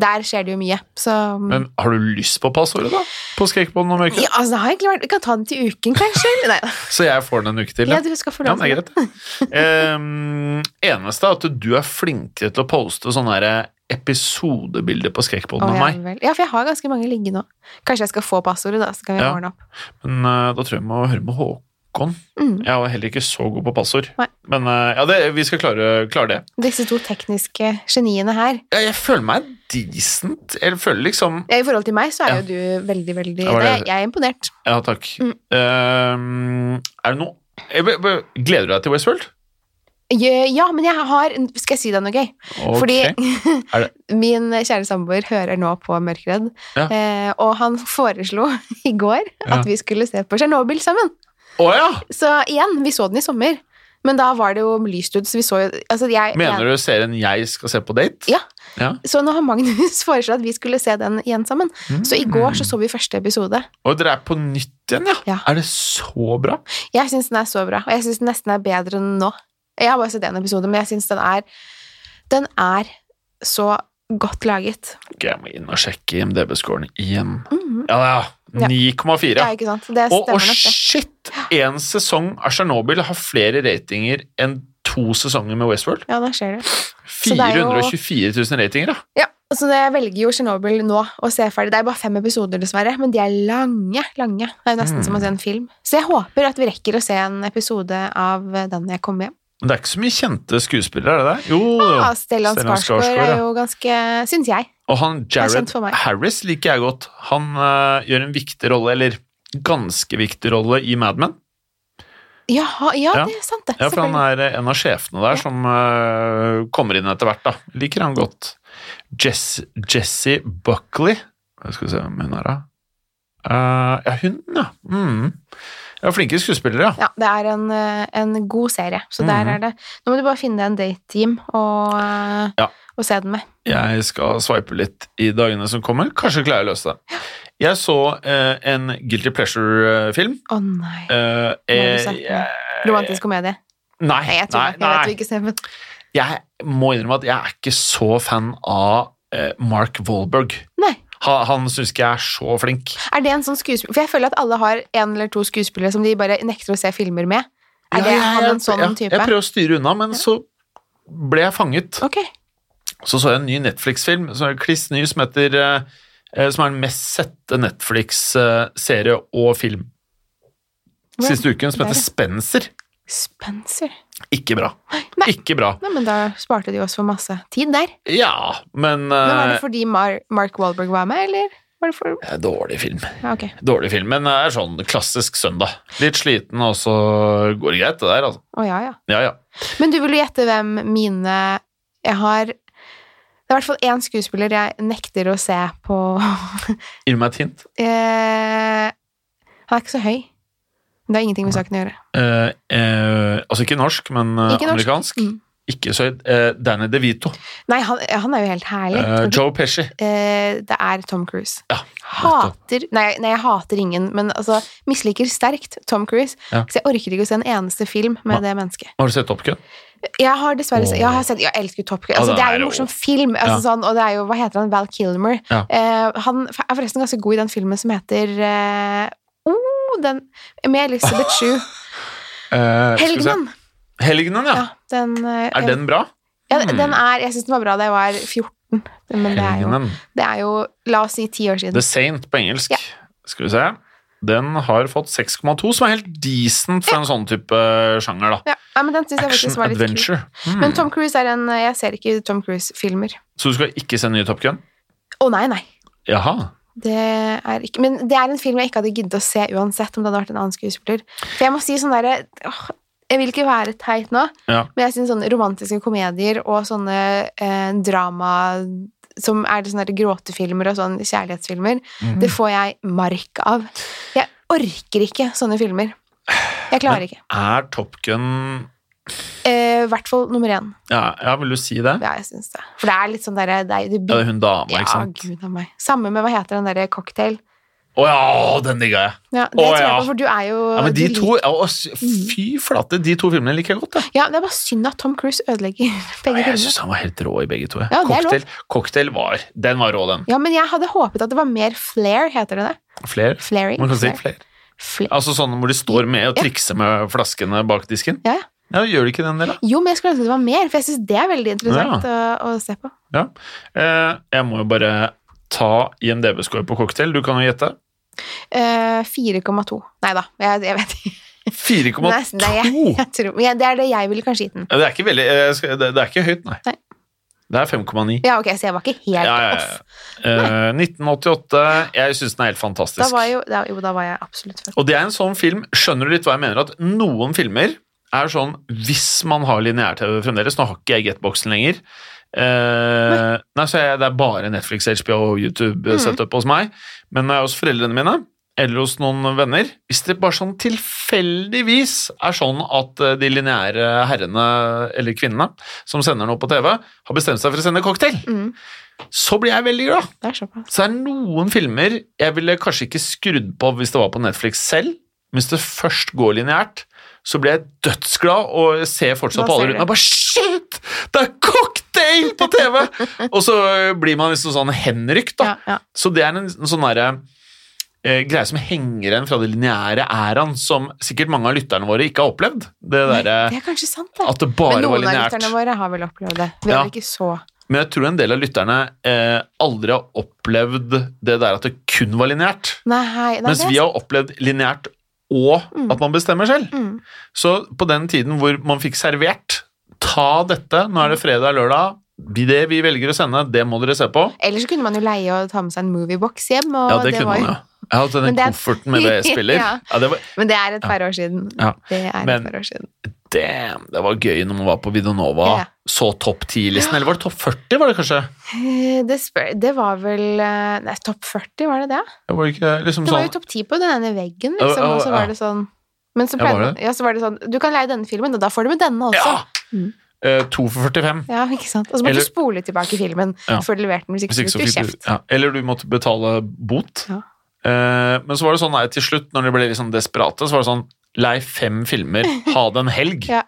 [SPEAKER 2] der skjer det jo mye, så...
[SPEAKER 1] Men har du lyst på passordet, da? På Skrekkbånd og Mørke?
[SPEAKER 2] Mm. ja, altså, det har egentlig vært, vi kan ta den til uken, kanskje? eller? Nei,
[SPEAKER 1] Så jeg får den en uke til.
[SPEAKER 2] ja,
[SPEAKER 1] ja.
[SPEAKER 2] du skal få
[SPEAKER 1] Ja,
[SPEAKER 2] lov
[SPEAKER 1] men det
[SPEAKER 2] til
[SPEAKER 1] er greit. Ehm, eneste er at du er flinkere til å poste sånne her episodebilder på skrekkpodden
[SPEAKER 2] Å,
[SPEAKER 1] enn
[SPEAKER 2] ja,
[SPEAKER 1] meg.
[SPEAKER 2] vel. ja, for jeg har ganske mange ligge nå. Kanskje jeg skal få passordet, da, så kan vi
[SPEAKER 1] Ja.
[SPEAKER 2] ordne opp.
[SPEAKER 1] Men eh, da tror jeg jeg må høre med Håkon.
[SPEAKER 2] Mm.
[SPEAKER 1] Jeg er jo heller ikke så god på passord.
[SPEAKER 2] Nei.
[SPEAKER 1] Men eh, ja, det, vi skal klare, klare det.
[SPEAKER 2] Disse to tekniske geniene her.
[SPEAKER 1] Jeg, jeg føler meg decent. Jeg føler liksom
[SPEAKER 2] Ja, I forhold til meg så er jo du veldig, veldig
[SPEAKER 1] Ja, var det-
[SPEAKER 2] Nei, Jeg er imponert.
[SPEAKER 1] Ja, takk.
[SPEAKER 2] Mm.
[SPEAKER 1] Ehm, er det noe jeg, be- be- Gleder du deg til Westworld?
[SPEAKER 2] Ja, ja, men jeg har Skal jeg si deg noe gøy?
[SPEAKER 1] Ok. Er det-
[SPEAKER 2] Fordi min kjære samboer hører nå på Mørkredd,
[SPEAKER 1] Ja.
[SPEAKER 2] eh, og han foreslo i går
[SPEAKER 1] Ja.
[SPEAKER 2] at vi skulle se på Tsjernobyl sammen.
[SPEAKER 1] Å ja!
[SPEAKER 2] Så igjen, vi så den i sommer, men da var det jo lyst ut, så vi så jo altså jeg,
[SPEAKER 1] Mener du serien jeg skal se på date?
[SPEAKER 2] Ja. Så nå har Magnus foreslått at vi skulle se den igjen sammen. Så i går så, så vi første episode.
[SPEAKER 1] Og Mm. dere er på nytt igjen, ja?
[SPEAKER 2] Ja.
[SPEAKER 1] Er det så bra?
[SPEAKER 2] Jeg syns den er så bra, og jeg syns den nesten er bedre enn nå. Jeg har bare sett én episode, men jeg syns den er Den er så godt laget.
[SPEAKER 1] Ok, jeg må inn og sjekke IMDb-scoren igjen. Ja, ja. 9,4.
[SPEAKER 2] Ja, ikke sant? Det
[SPEAKER 1] Mm. Og,
[SPEAKER 2] stemmer
[SPEAKER 1] og
[SPEAKER 2] nok, det.
[SPEAKER 1] shit! En sesong av Tsjernobyl har flere ratinger enn to sesonger med Westworld.
[SPEAKER 2] Ja, da skjer det. Så det er jo-
[SPEAKER 1] 424 000 ratinger, da.
[SPEAKER 2] Ja, så jeg velger jo Tsjernobyl nå å se ferdig. Det er bare fem episoder, dessverre, men de er lange. lange. Det er jo nesten
[SPEAKER 1] Mm.
[SPEAKER 2] som å se en film. Så jeg håper at vi rekker å se en episode av den jeg kommer hjem.
[SPEAKER 1] Men det er ikke så mye kjente skuespillere, er det det? Jo,
[SPEAKER 2] Ah, Ja, Stellan
[SPEAKER 1] Stellan
[SPEAKER 2] Skarsgård
[SPEAKER 1] Skarsgård, ja.
[SPEAKER 2] er jo ganske Syns jeg.
[SPEAKER 1] Og han
[SPEAKER 2] er
[SPEAKER 1] Jared
[SPEAKER 2] kjent for meg.
[SPEAKER 1] Harris liker jeg godt. Han eh, gjør en viktig rolle, eller ganske viktig rolle, i Mad Men.
[SPEAKER 2] Jaha, ja,
[SPEAKER 1] Ja.
[SPEAKER 2] det er sant, det.
[SPEAKER 1] Ja, for han
[SPEAKER 2] Selvfølgelig.
[SPEAKER 1] er eh, en av sjefene der som eh, kommer inn etter hvert, da. Liker han godt. Jess, Jessie Buckley Hva Skal vi se hvem hun er, da. Eh, ja, hun, ja. Mm. Ja, flinke skuespillere, ja.
[SPEAKER 2] Ja, det er en, eh, en god serie, så
[SPEAKER 1] Mhm.
[SPEAKER 2] der er det Nå må du bare finne deg en date, Jim, og, eh,
[SPEAKER 1] Ja.
[SPEAKER 2] og se den med.
[SPEAKER 1] Jeg skal sveipe litt i dagene som kommer. Kanskje klarer jeg å løse det. Jeg så eh, en Guilty Pleasure-film.
[SPEAKER 2] Å nei.
[SPEAKER 1] Eh,
[SPEAKER 2] har du
[SPEAKER 1] eh,
[SPEAKER 2] sett den?
[SPEAKER 1] jeg-
[SPEAKER 2] Romantisk komedie.
[SPEAKER 1] Nei,
[SPEAKER 2] Nei,
[SPEAKER 1] nei,
[SPEAKER 2] jeg tror det. Jeg
[SPEAKER 1] nei.
[SPEAKER 2] vet du ikke ser, men
[SPEAKER 1] jeg må innrømme at jeg er ikke så fan av eh, Mark Wahlberg.
[SPEAKER 2] Nei.
[SPEAKER 1] Han, han syns ikke jeg er så flink.
[SPEAKER 2] Er det en sånn skuespiller For jeg føler at alle har en eller to skuespillere som de bare nekter å se filmer med. Er
[SPEAKER 1] Ja,
[SPEAKER 2] det
[SPEAKER 1] jeg-
[SPEAKER 2] han
[SPEAKER 1] jeg-
[SPEAKER 2] en sånn
[SPEAKER 1] jeg-
[SPEAKER 2] type?
[SPEAKER 1] Jeg prøver å styre unna, men så ble jeg fanget.
[SPEAKER 2] Ok.
[SPEAKER 1] Så så jeg en ny Netflix-film, som er kliss ny, som heter eh, eh, Som er den mest sette Netflix-serie og film
[SPEAKER 2] Ja,
[SPEAKER 1] siste uken, som
[SPEAKER 2] det er
[SPEAKER 1] heter
[SPEAKER 2] det.
[SPEAKER 1] Spencer.
[SPEAKER 2] Spencer
[SPEAKER 1] Ikke bra.
[SPEAKER 2] Nei.
[SPEAKER 1] Ikke bra.
[SPEAKER 2] Nei, men da sparte de oss for masse tid der.
[SPEAKER 1] Ja, men
[SPEAKER 2] Men Var det
[SPEAKER 1] eh,
[SPEAKER 2] fordi Mar Mark Wahlberg var med, eller? Var det for
[SPEAKER 1] det er eh, Dårlig film.
[SPEAKER 2] Ja, ok.
[SPEAKER 1] Dårlig film, men det er sånn klassisk søndag. Litt sliten, og så går det greit, det der, altså.
[SPEAKER 2] Å ja, ja.
[SPEAKER 1] Ja, ja.
[SPEAKER 2] Men du vil jo gjette hvem mine Jeg har Det er i hvert fall én skuespiller jeg nekter å se på
[SPEAKER 1] Gi meg et hint.
[SPEAKER 2] eh, Han er ikke så høy. Men det har ingenting med saken å gjøre.
[SPEAKER 1] Eh, eh, altså ikke norsk, men eh,
[SPEAKER 2] Ikke norsk.
[SPEAKER 1] amerikansk.
[SPEAKER 2] Mm.
[SPEAKER 1] Ikke så høyt. Eh, Danny DeVito.
[SPEAKER 2] Nei, han, han er jo helt herlig.
[SPEAKER 1] Eh,
[SPEAKER 2] Og
[SPEAKER 1] Joe Pesci.
[SPEAKER 2] Eh, det er Tom Cruise.
[SPEAKER 1] Ja,
[SPEAKER 2] hater nei, nei, jeg hater ingen, men altså misliker sterkt Tom Cruise.
[SPEAKER 1] Ja.
[SPEAKER 2] Så jeg orker ikke å se en eneste film med det mennesket.
[SPEAKER 1] Har du sett Top Gun?
[SPEAKER 2] Jeg har dessverre
[SPEAKER 1] Åh.
[SPEAKER 2] jeg har sett Jeg elsker Top Gun.
[SPEAKER 1] Ja, den
[SPEAKER 2] Altså, det
[SPEAKER 1] er
[SPEAKER 2] er jo
[SPEAKER 1] jo-
[SPEAKER 2] en morsom film, altså, sånn, og det er jo Hva heter han? Val Kilmer.
[SPEAKER 1] Ja.
[SPEAKER 2] Eh, han er forresten ganske god i den filmen som heter eh, oh, den Med Elizabeth Shue.
[SPEAKER 1] Eh, skal vi se.
[SPEAKER 2] Helgenen!
[SPEAKER 1] Helgenen, ja.
[SPEAKER 2] Ja, den, eh,
[SPEAKER 1] Er den bra?
[SPEAKER 2] ja, den er Jeg syns den var bra da jeg var 14, men det er jo,
[SPEAKER 1] Helgenen.
[SPEAKER 2] det er jo La oss si ti år siden.
[SPEAKER 1] The Saint på engelsk.
[SPEAKER 2] Ja.
[SPEAKER 1] Skal vi se. Den har fått 6,2, som er helt decent for en sånn type sjanger, da.
[SPEAKER 2] Ja, nei, men den synes jeg
[SPEAKER 1] Action
[SPEAKER 2] faktisk var litt kul.
[SPEAKER 1] adventure. Hmm.
[SPEAKER 2] Men Tom Cruise er en eh, Jeg ser ikke Tom Cruise-filmer.
[SPEAKER 1] Så du skal ikke se nye Top Gun?
[SPEAKER 2] Å nei, nei.
[SPEAKER 1] Jaha.
[SPEAKER 2] Det er ikke, men det er en film jeg ikke hadde giddet å se uansett om det hadde vært en annen skuespiller. For jeg må si sånn derre åh, Jeg vil ikke være teit nå,
[SPEAKER 1] Ja.
[SPEAKER 2] men jeg syns sånne romantiske komedier og sånne eh, drama som er det sånne der gråtefilmer og sånne kjærlighetsfilmer,
[SPEAKER 1] Mhm.
[SPEAKER 2] det får jeg mark av. Jeg orker ikke sånne filmer. Jeg klarer ikke.
[SPEAKER 1] Er Top Gun
[SPEAKER 2] Eh, I hvert fall nummer én.
[SPEAKER 1] Ja, ja vil du si det?
[SPEAKER 2] Ja, jeg syns det. For det er litt sånn derre det, er- det
[SPEAKER 1] Ja, det er hun dama, ikke
[SPEAKER 2] Ja,
[SPEAKER 1] sant?
[SPEAKER 2] gud av meg. Samme med hva heter den derre cocktail.
[SPEAKER 1] Å ja, den digga jeg!
[SPEAKER 2] Ja, det
[SPEAKER 1] Å,
[SPEAKER 2] tror jeg
[SPEAKER 1] ja.
[SPEAKER 2] på, for du er jo
[SPEAKER 1] Ja, men de
[SPEAKER 2] du
[SPEAKER 1] to, ja, å, s-
[SPEAKER 2] Mm.
[SPEAKER 1] Fy flate, de to filmene liker jeg godt. Da.
[SPEAKER 2] liker- Ja, det er bare synd at Tom Cruise ødelegger
[SPEAKER 1] Jeg
[SPEAKER 2] begge filmene.
[SPEAKER 1] syns han var helt rå i begge to. jeg.
[SPEAKER 2] Ja, det er lov.
[SPEAKER 1] cocktail, cocktail var Den var rå, den.
[SPEAKER 2] Ja, men jeg hadde håpet at det var mer flair, heter det det?
[SPEAKER 1] Flere.
[SPEAKER 2] Flairing?
[SPEAKER 1] Man kan si
[SPEAKER 2] Flair?
[SPEAKER 1] flere.
[SPEAKER 2] Flair.
[SPEAKER 1] Altså sånne hvor de står med og
[SPEAKER 2] Ja.
[SPEAKER 1] trikser med flaskene bak disken.
[SPEAKER 2] Ja, ja.
[SPEAKER 1] Ja, Gjør de ikke den delen?
[SPEAKER 2] Jo, men jeg skulle ønske det var mer, for jeg syns det er veldig interessant å, å se på.
[SPEAKER 1] Ja. Eh, jeg må jo bare ta IMDb-score på cocktail. Du kan jo gjette.
[SPEAKER 2] Eh, 4,2. Nei da, jeg, jeg vet ikke.
[SPEAKER 1] 4,2!
[SPEAKER 2] Nesten, det er jeg, jeg tror. Men jeg- det er det jeg ville kanskje gitt den.
[SPEAKER 1] Ja, Det er ikke veldig eh, skal- Det det er ikke høyt, nei.
[SPEAKER 2] Nei.
[SPEAKER 1] Det er 5,9.
[SPEAKER 2] Ja, ok, så jeg var ikke
[SPEAKER 1] Ja,
[SPEAKER 2] helt
[SPEAKER 1] ja, ja.
[SPEAKER 2] off.
[SPEAKER 1] Eh, 1988. Jeg syns den er helt fantastisk.
[SPEAKER 2] Da var jo, da, jo, da var jeg absolutt for.
[SPEAKER 1] Og det er en sånn film, skjønner du litt hva jeg mener, at noen filmer er sånn, hvis man har lineær-TV fremdeles, nå har ikke jeg Getboxen lenger, eh, nei, så jeg, det er bare Netflix, HBO og YouTube-setup hos meg, men når jeg er hos foreldrene mine, eller hos noen venner, hvis det bare sånn tilfeldigvis er sånn at eh, de lineære herrene, eller kvinnene, som sender noe på TV, har bestemt seg for å sende cocktail,
[SPEAKER 2] Mm,
[SPEAKER 1] så blir jeg veldig glad.
[SPEAKER 2] det er såpass.
[SPEAKER 1] Så det er noen filmer jeg ville kanskje ikke skrudd på hvis det var på Netflix selv. men Hvis det først går lineært, så blir jeg dødsglad og ser fortsatt
[SPEAKER 2] Da
[SPEAKER 1] på
[SPEAKER 2] ser
[SPEAKER 1] alle rundt
[SPEAKER 2] du.
[SPEAKER 1] meg og bare Shit! Det er cocktail! Nei, på TV! Og så blir man liksom sånn henrykt, da.
[SPEAKER 2] Ja, ja.
[SPEAKER 1] Så det er en, en sånn derre eh, greie som henger igjen fra det lineære æraen, som sikkert mange av lytterne våre ikke har opplevd. Det derre
[SPEAKER 2] Det er kanskje sant, det.
[SPEAKER 1] at det
[SPEAKER 2] Men
[SPEAKER 1] bare var
[SPEAKER 2] noen av
[SPEAKER 1] lineært.
[SPEAKER 2] lytterne våre har vel opplevd det. Vi
[SPEAKER 1] Ja.
[SPEAKER 2] har ikke så
[SPEAKER 1] Men jeg tror en del av lytterne eh, aldri har opplevd det der at det kun var lineært.
[SPEAKER 2] Nei, hei. Nei,
[SPEAKER 1] Mens
[SPEAKER 2] det er
[SPEAKER 1] vi har opplevd lineært og
[SPEAKER 2] Mm.
[SPEAKER 1] at man bestemmer selv.
[SPEAKER 2] Mm.
[SPEAKER 1] Så på den tiden hvor man fikk servert Ta dette, nå er det fredag lørdag. Det vi velger å sende, det må dere se på.
[SPEAKER 2] Ellers kunne man jo leie og ta med seg en moviebox hjem. Og
[SPEAKER 1] Ja, det, kunne
[SPEAKER 2] var
[SPEAKER 1] man
[SPEAKER 2] jo-
[SPEAKER 1] jo. Jeg hadde
[SPEAKER 2] Men
[SPEAKER 1] den
[SPEAKER 2] det er-
[SPEAKER 1] kofferten med VS-spiller. ja.
[SPEAKER 2] Ja.
[SPEAKER 1] det, var,
[SPEAKER 2] Men det er et par år siden.
[SPEAKER 1] Ja.
[SPEAKER 2] Det er
[SPEAKER 1] Men-
[SPEAKER 2] et par år siden.
[SPEAKER 1] damn, det var gøy når man var på Videonova.
[SPEAKER 2] Ja.
[SPEAKER 1] Så topp 10-listen, eller var det topp 40, var det kanskje?
[SPEAKER 2] Eh, Det, spør, det var vel eh, Nei, topp 40, var det det?
[SPEAKER 1] Det var, ikke, liksom
[SPEAKER 2] Det var jo
[SPEAKER 1] sånn,
[SPEAKER 2] topp 10 på den ene veggen,
[SPEAKER 1] Ja,
[SPEAKER 2] liksom.
[SPEAKER 1] ja,
[SPEAKER 2] Og
[SPEAKER 1] ja.
[SPEAKER 2] så var det sånn Men så
[SPEAKER 1] Ja,
[SPEAKER 2] pleide
[SPEAKER 1] var
[SPEAKER 2] man
[SPEAKER 1] det?
[SPEAKER 2] Ja, så var det sånn Du kan leie denne filmen, og da får du med denne
[SPEAKER 1] ja!
[SPEAKER 2] også. Mm.
[SPEAKER 1] Eh, to for 45.
[SPEAKER 2] Ja, ikke sant? Og så måtte
[SPEAKER 1] Eller-
[SPEAKER 2] du spole tilbake filmen
[SPEAKER 1] Ja.
[SPEAKER 2] før du leverte den, hvis ikke
[SPEAKER 1] Hvis ikke så
[SPEAKER 2] så fikk du
[SPEAKER 1] fikk du
[SPEAKER 2] kjeft.
[SPEAKER 1] ja. Eller du måtte betale bot.
[SPEAKER 2] Ja.
[SPEAKER 1] Eh, men så var det sånn nei, til slutt, når de ble litt sånn desperate, så var det sånn Lei fem filmer, ha det en helg.
[SPEAKER 2] Ja.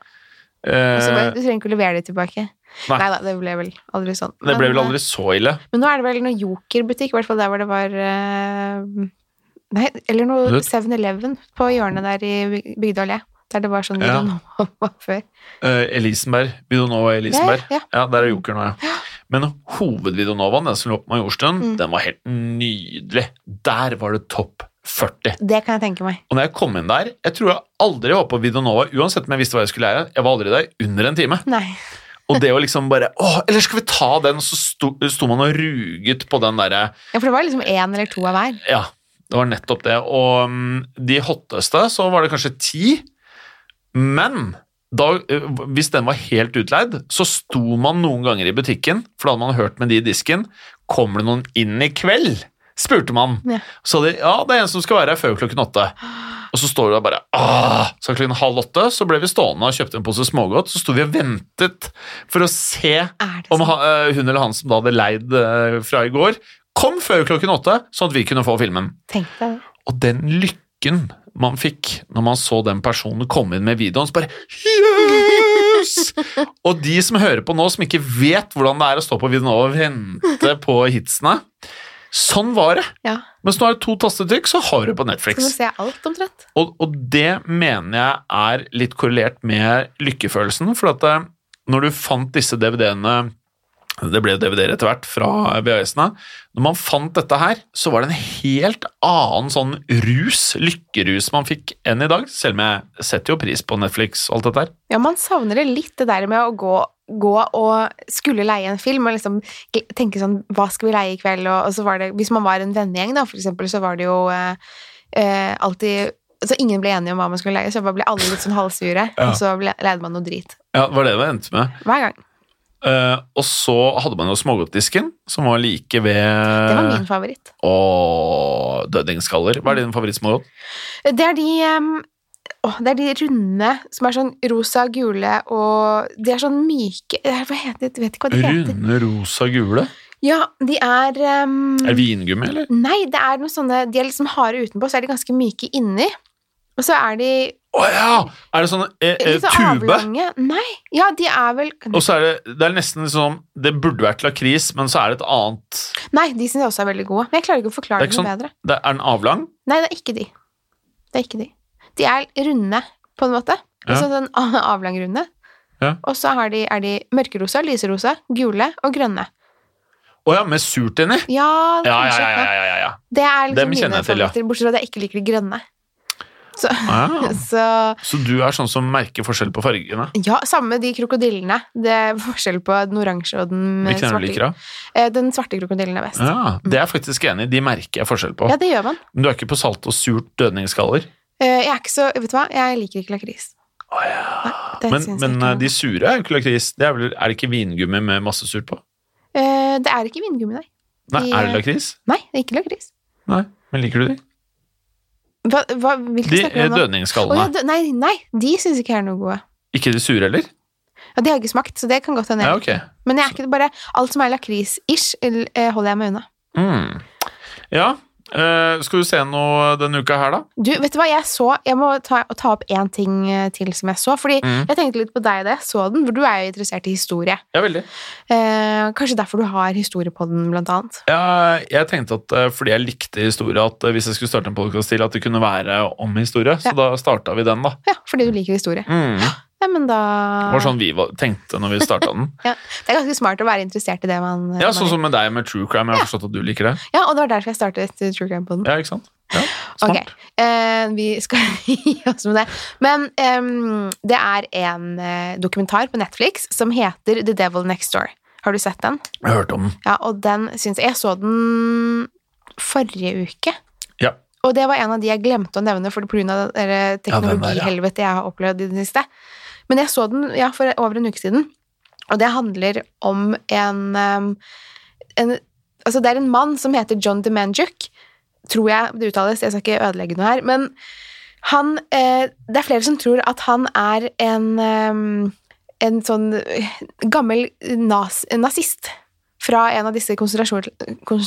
[SPEAKER 2] Og så bare,
[SPEAKER 1] Eh,
[SPEAKER 2] du trenger ikke å levere det tilbake.
[SPEAKER 1] Nei.
[SPEAKER 2] Nei. da, det ble vel aldri sånn.
[SPEAKER 1] det ble
[SPEAKER 2] Men,
[SPEAKER 1] vel aldri så ille.
[SPEAKER 2] eh, Men nå er det vel noe Joker-butikk, i hvert fall der hvor det var eh, Nei, eller
[SPEAKER 1] Du
[SPEAKER 2] noe
[SPEAKER 1] vet-
[SPEAKER 2] 7-Eleven på hjørnet der i Byg- Bygdøy allé. Der det var sånn
[SPEAKER 1] Ja.
[SPEAKER 2] Vinonova var før.
[SPEAKER 1] Eh, Elisenberg. Videonova i Elisenberg.
[SPEAKER 2] Ja,
[SPEAKER 1] Ja, der er Joker nå, ja. Men hovedvideonovaen, den som lå på Majorstuen,
[SPEAKER 2] Mm.
[SPEAKER 1] den var helt nydelig. Der var det topp 40.
[SPEAKER 2] Det kan jeg tenke meg.
[SPEAKER 1] Og når jeg kom inn der Jeg tror jeg aldri var på Videonova, uansett om jeg visste hva jeg skulle lære. Jeg var aldri der under en time.
[SPEAKER 2] Nei.
[SPEAKER 1] Og det å liksom bare Åh, eller skal vi ta den? Og så sto, sto man og ruget på den derre
[SPEAKER 2] Ja, for det var liksom én eller to av hver.
[SPEAKER 1] Ja, det var nettopp det. Og mm, de hotteste, så var det kanskje ti. Men da, eh, hvis den var helt utleid, så sto man noen ganger i butikken, for da hadde man hørt med de i disken. Kommer det noen inn i kveld? spurte man.
[SPEAKER 2] Ja.
[SPEAKER 1] Så de, ja, det er en som skal være her før klokken åtte. Og så står du der bare Åh! Så klokken halv åtte så ble vi stående og kjøpte en pose smågodt. Så sto vi og ventet for å se
[SPEAKER 2] Er det
[SPEAKER 1] om
[SPEAKER 2] sånn?
[SPEAKER 1] ha- eh, hun eller han som da hadde leid eh, fra i går, kom før klokken åtte, sånn at vi kunne få filmen.
[SPEAKER 2] Tenk deg det.
[SPEAKER 1] Og den lykken man fikk når man så den personen komme inn med videoen, så bare Yes! og de som hører på nå, som ikke vet hvordan det er å stå på videoen og vente på hitsene Sånn var det.
[SPEAKER 2] Ja.
[SPEAKER 1] Mens nå er det to tastetrykk, så har du det på
[SPEAKER 2] Så nå
[SPEAKER 1] Netflix.
[SPEAKER 2] ser jeg alt, omtrent.
[SPEAKER 1] Og, og det mener jeg er litt korrelert med lykkefølelsen, for at eh, når du fant disse DVD-ene det ble DVD-er etter hvert fra VHS-ene. Når man fant dette her, så var det en helt annen sånn rus, lykkerus man fikk enn i dag. Selv om jeg setter jo pris på Netflix og alt dette her.
[SPEAKER 2] Ja, man savner det litt, det der med å gå, gå og skulle leie en film, og liksom gl- tenke sånn, hva skal vi leie i kveld? Og, og så var det, hvis man var en vennegjeng da, for eksempel, så var det jo eh, eh, alltid, så ingen ble enige om hva man skulle leie, så bare ble alle litt sånn halvsure,
[SPEAKER 1] Ja.
[SPEAKER 2] og så ble, leide man noe drit.
[SPEAKER 1] Ja, det var det det endte med.
[SPEAKER 2] Hver gang.
[SPEAKER 1] Eh, og så hadde man jo smågodtdisken, som var like ved Eh.
[SPEAKER 2] Det var min favoritt.
[SPEAKER 1] Og dødningsskaller. Hva er din favorittsmågodt?
[SPEAKER 2] Det er de... em, åh, det er de runde som er sånn rosa, gule og De er sånn myke eh, Hva heter det? Jeg vet ikke hva de heter.
[SPEAKER 1] Runde, rosa, gule.
[SPEAKER 2] Ja, de er em,
[SPEAKER 1] Er det vingummi, eller?
[SPEAKER 2] Nei, det er noen sånne De er liksom harde utenpå, så er de ganske myke inni. Og så er de
[SPEAKER 1] Å ja! Er det sånn eh, eh,
[SPEAKER 2] litt sånn
[SPEAKER 1] tube?
[SPEAKER 2] avlange. Nei, ja, de er vel
[SPEAKER 1] Og så er det, det er nesten som Det burde vært lakris, men så er det et annet
[SPEAKER 2] Nei, de syns jeg også er veldig gode. Men jeg klarer ikke å
[SPEAKER 1] Det
[SPEAKER 2] forklare
[SPEAKER 1] er
[SPEAKER 2] det
[SPEAKER 1] ikke sånn-
[SPEAKER 2] noe bedre.
[SPEAKER 1] det Er den avlang?
[SPEAKER 2] Nei, det er ikke de. Det er ikke de. De er runde, på en måte.
[SPEAKER 1] Ja.
[SPEAKER 2] Altså sånn a- avlang runde.
[SPEAKER 1] Ja.
[SPEAKER 2] Og så har de, er de mørkerosa, lyserosa, gule og grønne.
[SPEAKER 1] Å ja, med surt inni?
[SPEAKER 2] Ja, det,
[SPEAKER 1] Ja, ja,
[SPEAKER 2] er kanskje
[SPEAKER 1] ja.
[SPEAKER 2] ikke-
[SPEAKER 1] ja, ja, ja.
[SPEAKER 2] det er liksom
[SPEAKER 1] Dem kjenner
[SPEAKER 2] mine
[SPEAKER 1] jeg til, ja.
[SPEAKER 2] favoritter, bortsett fra at jeg ikke liker de grønne. Så,
[SPEAKER 1] Ah,
[SPEAKER 2] så
[SPEAKER 1] Så du er sånn som merker forskjell på fargene?
[SPEAKER 2] Ja, samme med de krokodillene. Det er forskjell på den oransje og den eh,
[SPEAKER 1] Hvilken er
[SPEAKER 2] svarte.
[SPEAKER 1] det du liker, da?
[SPEAKER 2] Eh, Den svarte krokodillen er best. Ja.
[SPEAKER 1] Ja, det er jeg faktisk enig i. De merker jeg forskjell på.
[SPEAKER 2] det gjør man.
[SPEAKER 1] Men du er ikke på salt og surt dødningsskaller?
[SPEAKER 2] Eh, Jeg er ikke så Vet du hva, jeg liker ikke lakris.
[SPEAKER 1] Å ja.
[SPEAKER 2] Det
[SPEAKER 1] Men,
[SPEAKER 2] synes jeg
[SPEAKER 1] men
[SPEAKER 2] ikke
[SPEAKER 1] eh,
[SPEAKER 2] noe.
[SPEAKER 1] de sure er jo ikke lakris. Det er, vel, er det ikke vingummi med masse surt på?
[SPEAKER 2] Eh, Det er ikke vindgummi, nei.
[SPEAKER 1] Nei,
[SPEAKER 2] De,
[SPEAKER 1] er det
[SPEAKER 2] eh,
[SPEAKER 1] lakris?
[SPEAKER 2] Nei, det er ikke lakris.
[SPEAKER 1] Nei, men liker du de?
[SPEAKER 2] Hva, hva, hvilke
[SPEAKER 1] De
[SPEAKER 2] snakker
[SPEAKER 1] eh,
[SPEAKER 2] du om nå? Å, ja,
[SPEAKER 1] dødningsskallene.
[SPEAKER 2] dø- nei, nei, de syns ikke jeg er noe gode.
[SPEAKER 1] Ikke de sure heller?
[SPEAKER 2] Ja, Det har jeg ikke smakt, så det kan godt hende.
[SPEAKER 1] Ja,
[SPEAKER 2] jeg-
[SPEAKER 1] ok.
[SPEAKER 2] Men jeg er ikke bare alt som er lakris-ish, l- eh, holder jeg meg unna.
[SPEAKER 1] Mm. Ja, Eh, skal du se noe denne uka her, da?
[SPEAKER 2] Du, vet du hva jeg så? Jeg må ta, ta opp én ting eh, til som jeg så. Fordi
[SPEAKER 1] Mm.
[SPEAKER 2] jeg tenkte litt på deg da jeg så den, for du er jo interessert i historie.
[SPEAKER 1] Ja, veldig.
[SPEAKER 2] Eh, kanskje derfor du har historiepodden, blant annet.
[SPEAKER 1] Ja, jeg tenkte at eh, fordi jeg likte historie, at eh, hvis jeg skulle starte en podkast til, at det kunne være om historie. Så
[SPEAKER 2] Ja.
[SPEAKER 1] da starta vi den, da.
[SPEAKER 2] Ja, fordi du liker historie.
[SPEAKER 1] Mm.
[SPEAKER 2] Ja, men da
[SPEAKER 1] Det var sånn vi var, tenkte når vi starta den.
[SPEAKER 2] Det er ganske smart å være interessert i det man
[SPEAKER 1] Ja,
[SPEAKER 2] man
[SPEAKER 1] Sånn som med deg med true crime. Jeg har forstått at du liker det.
[SPEAKER 2] ja, og det var derfor jeg startet eh, True Crime-podden.
[SPEAKER 1] Ja, ikke sant? Ja, smart.
[SPEAKER 2] Ok. Eh, vi skal gi oss med det. Men ehm, det er en eh, dokumentar på Netflix som heter The Devil Next Door. Har du sett den?
[SPEAKER 1] Jeg hørte om den.
[SPEAKER 2] Ja, og den syns jeg Jeg så den forrige uke.
[SPEAKER 1] Ja.
[SPEAKER 2] Og det var en av de jeg glemte å nevne for pga.
[SPEAKER 1] Ja, den der, ja.
[SPEAKER 2] teknologihelvetet eh, jeg har opplevd i det siste. Men jeg så den ja, for over en uke siden, og det handler om en, ehm, en Altså, det er en mann som heter John Demanjuk, tror jeg det uttales, jeg skal ikke ødelegge noe her, men han eh, Det er flere som tror at han er en ehm, en sånn eh, gammel nas, nazist fra en av disse konsentrasjon,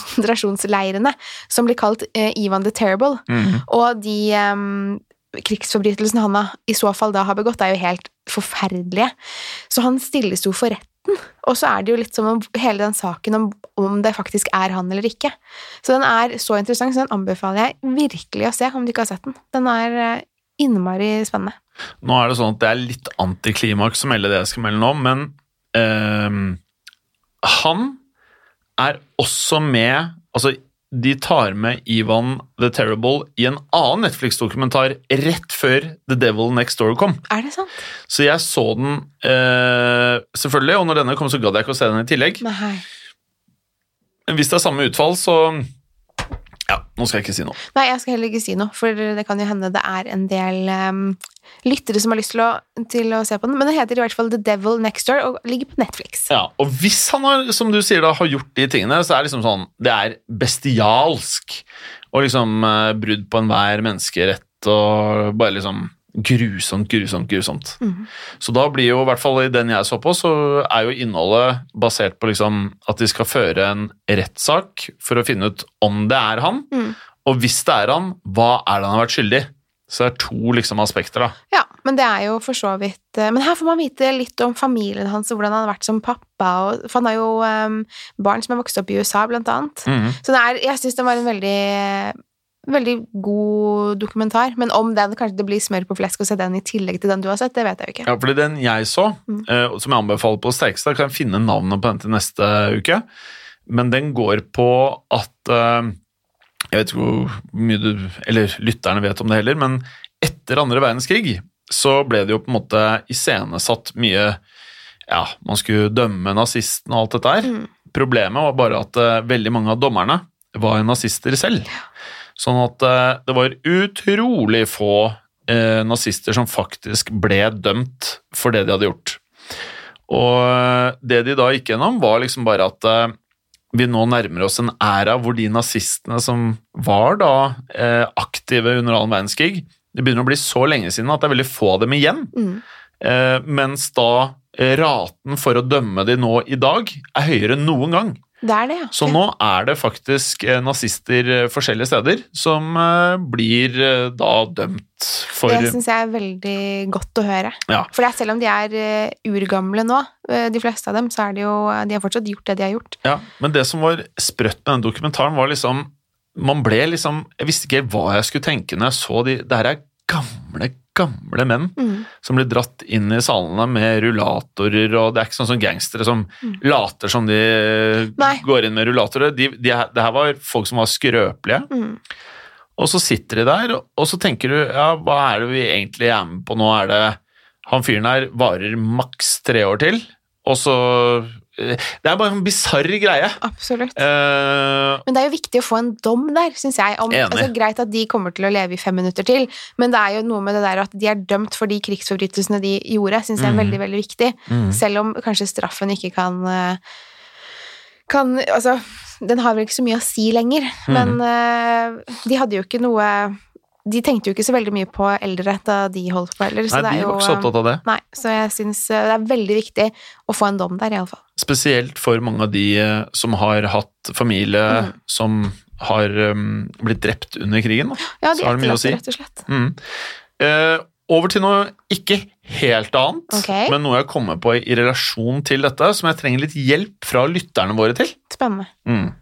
[SPEAKER 2] konsentrasjonsleirene som blir kalt eh, Ivan the Terrible.
[SPEAKER 1] Mhm.
[SPEAKER 2] Og de ehm, krigsforbrytelsene han har, i så fall da har begått, er jo helt forferdelige. Så han stilles jo for retten, og så er det jo litt som om hele den saken om, om det faktisk er han eller ikke. Så den er så interessant, så den anbefaler jeg virkelig å se, om du ikke har sett den. Den er eh, innmari spennende.
[SPEAKER 1] Nå er det sånn at det er litt antiklimaks å melde det jeg skal melde nå, men ehm, han er også med Altså, de tar med Ivan the Terrible i en annen Netflix-dokumentar rett før The Devil Next Door kom.
[SPEAKER 2] Er det sant?
[SPEAKER 1] Så jeg så den eh, selvfølgelig, og når denne kom, så gadd jeg ikke å se den i tillegg.
[SPEAKER 2] Nei.
[SPEAKER 1] Hvis det er samme utfall, så Ja, nå skal jeg ikke si noe.
[SPEAKER 2] Nei, jeg skal heller ikke si noe, for det kan jo hende det er en del ehm, lyttere som har lyst til å, til å se på den. Men den heter i hvert fall The Devil Next Door og ligger på Netflix.
[SPEAKER 1] Ja, Og hvis han har, som du sier da, har gjort de tingene, så er det liksom sånn Det er bestialsk. Og liksom eh, brudd på enhver menneskerett og bare liksom Grusomt, grusomt, grusomt.
[SPEAKER 2] Mhm.
[SPEAKER 1] Så da blir jo, i hvert fall i den jeg så på, så er jo innholdet basert på liksom at de skal føre en rettssak for å finne ut om det er han,
[SPEAKER 2] Mhm.
[SPEAKER 1] og hvis det er han, hva er det han har vært skyldig i? Så det er to liksom aspekter, da.
[SPEAKER 2] Ja, men det er jo for så vidt eh, Men her får man vite litt om familien hans og hvordan han har vært som pappa. Og, for han har jo ehm, barn som har vokst opp i USA, blant annet.
[SPEAKER 1] Mhm.
[SPEAKER 2] Så det er, jeg syns den var en veldig eh, Veldig god dokumentar, men om den kanskje det blir smør på flesk å se den i tillegg til den du har sett, det vet jeg jo ikke.
[SPEAKER 1] Ja, fordi den jeg så,
[SPEAKER 2] Mm.
[SPEAKER 1] eh, og som jeg anbefaler på det sterkeste, da kan jeg finne navnet på den til neste uke, men den går på at eh, Jeg vet ikke hvor mye du Eller lytterne vet om det heller, men etter andre verdenskrig så ble det jo på en måte iscenesatt mye Ja, man skulle dømme nazistene og alt dette her.
[SPEAKER 2] Mm.
[SPEAKER 1] Problemet var bare at eh, veldig mange av dommerne var nazister selv. Sånn at eh, det var utrolig få eh, nazister som faktisk ble dømt for det de hadde gjort. Og eh, det de da gikk gjennom, var liksom bare at eh, vi nå nærmer oss en æra hvor de nazistene som var da eh, aktive under annen verdenskrig, det begynner å bli så lenge siden at det er veldig få av dem igjen.
[SPEAKER 2] Mm.
[SPEAKER 1] Eh, mens da eh, raten for å dømme de nå i dag er høyere enn noen gang.
[SPEAKER 2] Det er det, ja.
[SPEAKER 1] Så
[SPEAKER 2] Ja.
[SPEAKER 1] nå er det faktisk eh, nazister eh, forskjellige steder som eh, blir eh, da dømt for
[SPEAKER 2] Det syns jeg er veldig godt å høre.
[SPEAKER 1] Ja.
[SPEAKER 2] For det er selv om de er eh, urgamle nå, eh, de fleste av dem, så er de jo eh, De har fortsatt gjort det de har gjort.
[SPEAKER 1] Ja, men det som var sprøtt med den dokumentaren, var liksom Man ble liksom Jeg visste ikke hva jeg skulle tenke når jeg så de Det her er gamle, gamle menn
[SPEAKER 2] Mm.
[SPEAKER 1] som blir dratt inn i salene med rullatorer, og det er ikke sånn som gangstere som later som de
[SPEAKER 2] Mm. Nei.
[SPEAKER 1] går inn med rullatorer. De, de, her- det her var folk som var skrøpelige.
[SPEAKER 2] Mm.
[SPEAKER 1] Og så sitter de der, og så tenker du ja, hva er det vi egentlig er med på nå? Er det han fyren her varer maks tre år til, og så eh, Det er bare en bisarr greie.
[SPEAKER 2] Absolutt.
[SPEAKER 1] Eh,
[SPEAKER 2] Men det er jo viktig å få en dom der, syns jeg. Om,
[SPEAKER 1] Enig.
[SPEAKER 2] altså, greit at de kommer til å leve i fem minutter til, men det er jo noe med det der at de er dømt for de krigsforbrytelsene de gjorde, syns jeg er
[SPEAKER 1] Mhm.
[SPEAKER 2] veldig, veldig viktig.
[SPEAKER 1] Mhm.
[SPEAKER 2] Selv om kanskje straffen ikke kan eh, kan, altså, Den har vel ikke så mye å si lenger, men
[SPEAKER 1] Mhm.
[SPEAKER 2] eh, de hadde jo ikke noe De tenkte jo ikke så veldig mye på eldre da de holdt på heller.
[SPEAKER 1] nei,
[SPEAKER 2] så det
[SPEAKER 1] de
[SPEAKER 2] er jo,
[SPEAKER 1] var ikke så opptatt av det.
[SPEAKER 2] eh, Nei, så jeg syns eh, det er veldig viktig å få en dom der, iallfall.
[SPEAKER 1] Spesielt for mange av de eh, som har hatt familie
[SPEAKER 2] Mm.
[SPEAKER 1] som har um, blitt drept under krigen. Da.
[SPEAKER 2] Ja, de
[SPEAKER 1] Så har det mye å
[SPEAKER 2] etterlatte,
[SPEAKER 1] si.
[SPEAKER 2] rett og slett.
[SPEAKER 1] Mm. Eh, over til noe ikke helt annet,
[SPEAKER 2] Ok.
[SPEAKER 1] men noe jeg kommer på i relasjon til dette, som jeg trenger litt hjelp fra lytterne våre til.
[SPEAKER 2] Spennende.
[SPEAKER 1] Mm.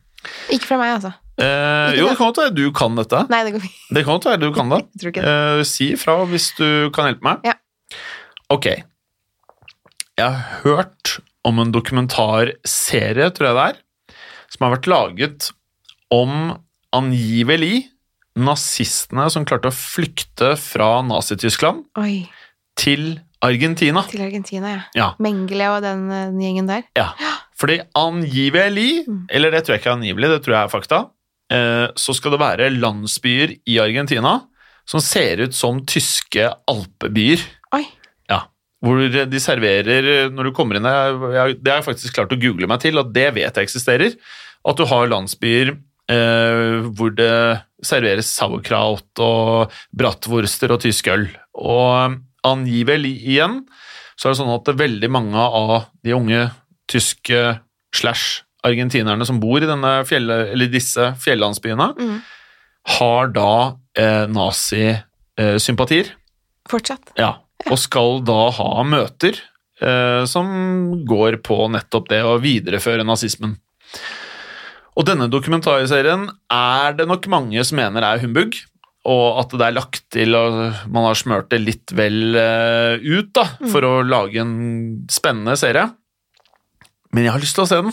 [SPEAKER 2] Ikke fra meg, altså.
[SPEAKER 1] Eh,
[SPEAKER 2] Ikke
[SPEAKER 1] jo,
[SPEAKER 2] det.
[SPEAKER 1] det kan godt være du kan dette.
[SPEAKER 2] Nei, det går fint.
[SPEAKER 1] Det kan godt være du kan det.
[SPEAKER 2] Jeg tror ikke det.
[SPEAKER 1] Eh, si ifra hvis du kan hjelpe meg.
[SPEAKER 2] Ja.
[SPEAKER 1] Ok. Jeg har hørt om en dokumentarserie, tror jeg det er, som har vært laget om angivelig nazistene som klarte å flykte fra Nazi-Tyskland
[SPEAKER 2] Oi.
[SPEAKER 1] til Argentina.
[SPEAKER 2] Til Argentina, ja.
[SPEAKER 1] Ja.
[SPEAKER 2] Mengele og den, eh, den gjengen der.
[SPEAKER 1] Ja, fordi angivelig,
[SPEAKER 2] Mm.
[SPEAKER 1] eller det tror jeg ikke er angivelig, det tror jeg er fakta, eh, så skal det være landsbyer i Argentina som ser ut som tyske alpebyer,
[SPEAKER 2] Oi.
[SPEAKER 1] hvor de serverer, når du kommer inn, jeg- jeg- det har jeg faktisk klart å google meg til, og det vet jeg eksisterer, at du har landsbyer eh, hvor det serveres sauerkraut og bratwurster og tysk øl. Og eh, angivelig igjen, så er det sånn at det er veldig mange av de unge tyske slash argentinerne som bor i denne fjell, eller disse fjellandsbyene,
[SPEAKER 2] Mm.
[SPEAKER 1] har da eh, nazisympatier.
[SPEAKER 2] Fortsatt.
[SPEAKER 1] Ja, og skal da ha møter eh, som går på nettopp det å videreføre nazismen. Og denne dokumentarserien er det nok mange som mener er humbug, og at det er lagt til og man har smørt det litt vel eh, ut da, for å lage en spennende serie. Men jeg har lyst til å se den.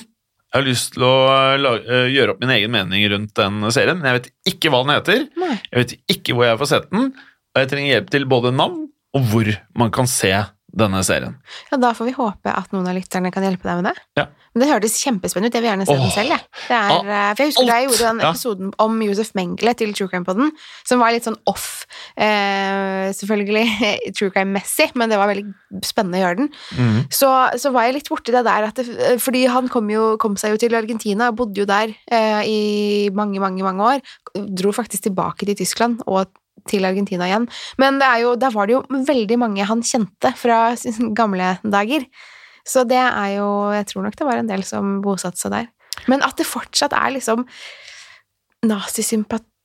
[SPEAKER 1] Jeg har lyst til å eh, la- eh, gjøre opp min egen mening rundt den serien, men jeg vet ikke hva den heter.
[SPEAKER 2] Nei.
[SPEAKER 1] Jeg vet ikke hvor jeg får sett den, og jeg trenger hjelp til både navn og hvor man kan se denne serien.
[SPEAKER 2] Ja, da får vi håpe at noen av lytterne kan hjelpe deg med det.
[SPEAKER 1] Ja.
[SPEAKER 2] Men det hørtes kjempespennende ut. Jeg vil gjerne se
[SPEAKER 1] Åh.
[SPEAKER 2] den selv. Jeg. Det er,
[SPEAKER 1] Al-
[SPEAKER 2] eh, for jeg husker da jeg
[SPEAKER 1] alt.
[SPEAKER 2] gjorde den
[SPEAKER 1] Ja.
[SPEAKER 2] episoden om Josef Mengele til True Crime Podden, som var litt sånn off, eh, selvfølgelig, True Crime-messig, men det var veldig spennende å gjøre den.
[SPEAKER 1] Mm.
[SPEAKER 2] Så, så var jeg litt borti det der, at det, fordi han kom, jo, kom seg jo til Argentina, og bodde jo der eh, i mange, mange, mange år. Dro faktisk tilbake til Tyskland og til Argentina igjen. Men det er jo, der var det jo veldig mange han kjente fra sin gamle dager. Så det er jo Jeg tror nok det var en del som bosatte seg der. Men at det fortsatt er liksom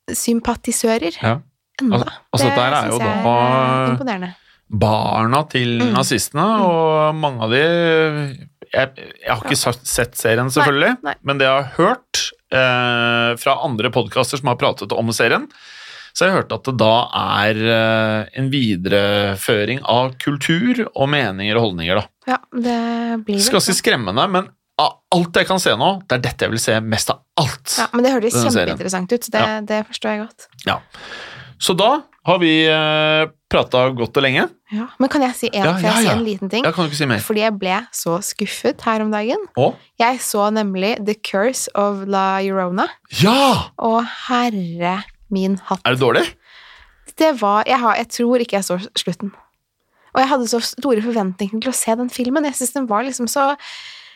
[SPEAKER 2] nazisympatisører
[SPEAKER 1] Ja.
[SPEAKER 2] enda,
[SPEAKER 1] Al- altså,
[SPEAKER 2] det
[SPEAKER 1] der er jo
[SPEAKER 2] synes jeg
[SPEAKER 1] da-
[SPEAKER 2] er imponerende.
[SPEAKER 1] Barna til
[SPEAKER 2] Mm.
[SPEAKER 1] nazistene, og mange av de Jeg, jeg har ikke sa- sett serien, selvfølgelig,
[SPEAKER 2] nei.
[SPEAKER 1] men det jeg har hørt eh, fra andre podkaster som har pratet om serien, så jeg har hørt at det da er eh, en videreføring av kultur og meninger og holdninger, da.
[SPEAKER 2] Ja, det blir
[SPEAKER 1] Det
[SPEAKER 2] vel
[SPEAKER 1] er ganske
[SPEAKER 2] sånn.
[SPEAKER 1] skremmende, men av alt jeg kan se nå, det er dette jeg vil se mest av alt.
[SPEAKER 2] Ja, men det høres
[SPEAKER 1] denne serien.
[SPEAKER 2] kjempeinteressant ut. så Det,
[SPEAKER 1] Ja.
[SPEAKER 2] det forstår jeg godt.
[SPEAKER 1] Så da har vi eh, prata godt og lenge.
[SPEAKER 2] Ja. Men kan jeg si en,
[SPEAKER 1] Ja,
[SPEAKER 2] kan jeg
[SPEAKER 1] ja,
[SPEAKER 2] si
[SPEAKER 1] ja.
[SPEAKER 2] en liten ting?
[SPEAKER 1] Jeg kan jo ikke si mer.
[SPEAKER 2] Fordi jeg ble så skuffet her om dagen.
[SPEAKER 1] Å,
[SPEAKER 2] Jeg så nemlig The Curse of La Llorona,
[SPEAKER 1] ja!
[SPEAKER 2] og herre min hatt.
[SPEAKER 1] Er det dårlig?
[SPEAKER 2] Det var Jeg, har, jeg tror ikke jeg så slutten. Og jeg hadde så store forventninger til å se den filmen. Jeg synes den var liksom så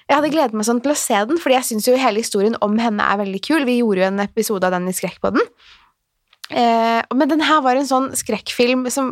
[SPEAKER 2] jeg hadde gledet meg sånn til å se den, fordi jeg syns jo hele historien om henne er veldig kul. Vi gjorde jo en episode av den i Skrekkpodden. Eh, men den her var en sånn skrekkfilm som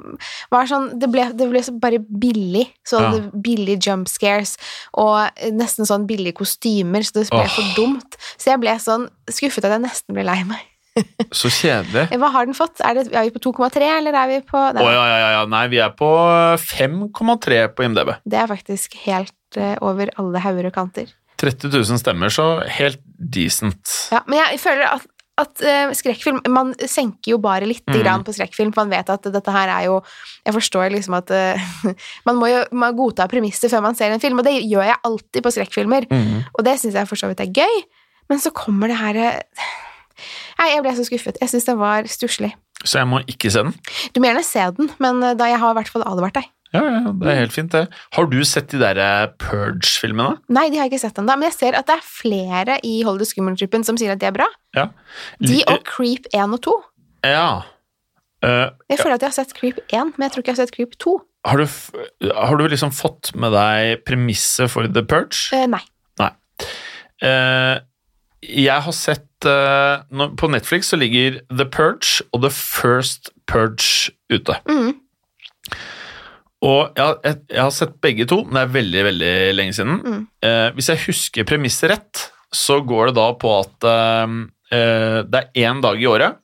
[SPEAKER 2] var sånn Det ble, det ble så bare billig. Så
[SPEAKER 1] Ja.
[SPEAKER 2] hadde billig jump scares og eh, nesten sånn billige kostymer, så det ble
[SPEAKER 1] Åh.
[SPEAKER 2] for dumt. Så jeg ble sånn skuffet at jeg nesten ble lei meg.
[SPEAKER 1] Så kjedelig.
[SPEAKER 2] Hva har den fått? Er, det, er vi på 2,3, eller er vi på
[SPEAKER 1] Å
[SPEAKER 2] Nei,
[SPEAKER 1] ja, ja, ja, ja. Nei, vi er på eh, 5,3 på IMDb.
[SPEAKER 2] det er faktisk helt eh, over alle hauger og kanter.
[SPEAKER 1] 30 000 stemmer, så helt decent.
[SPEAKER 2] Ja, men jeg føler at, at eh, skrekkfilm Man senker jo bare litt
[SPEAKER 1] Mm.
[SPEAKER 2] grann på skrekkfilm, for man vet at dette her er jo Jeg forstår liksom at eh, Man må jo man godta premisser før man ser en film, og det gjør jeg alltid på skrekkfilmer.
[SPEAKER 1] Mhm.
[SPEAKER 2] Og det syns jeg for så vidt er gøy, men så kommer det her eh, Nei, jeg ble så skuffet. Jeg syns den var stusslig.
[SPEAKER 1] Så jeg må ikke se den?
[SPEAKER 2] Du må gjerne se den, men eh, da jeg har i hvert fall advart deg.
[SPEAKER 1] Ja, ja, det er helt fint, det. Har du sett de der eh, Purge-filmene?
[SPEAKER 2] Nei, de har jeg ikke sett ennå, men jeg ser at det er flere i Hold it skummel-gruppen som sier at de er bra.
[SPEAKER 1] Ja.
[SPEAKER 2] De og Creep 1 og 2.
[SPEAKER 1] Ja. Eh,
[SPEAKER 2] Jeg føler at jeg har sett Creep 1, men jeg tror ikke jeg har sett Creep 2.
[SPEAKER 1] har, du, f- har du liksom fått med deg premisset for The Purge?
[SPEAKER 2] Eh, nei.
[SPEAKER 1] Eh, jeg har sett eh, nå- På Netflix så ligger The Purge og The First Purge ute.
[SPEAKER 2] Mm.
[SPEAKER 1] Og jeg, har- jeg, jeg har sett begge to, men det er veldig veldig lenge siden.
[SPEAKER 2] Mm.
[SPEAKER 1] Eh, hvis jeg husker premisset rett, så går det da på at eh, eh, det er én dag i året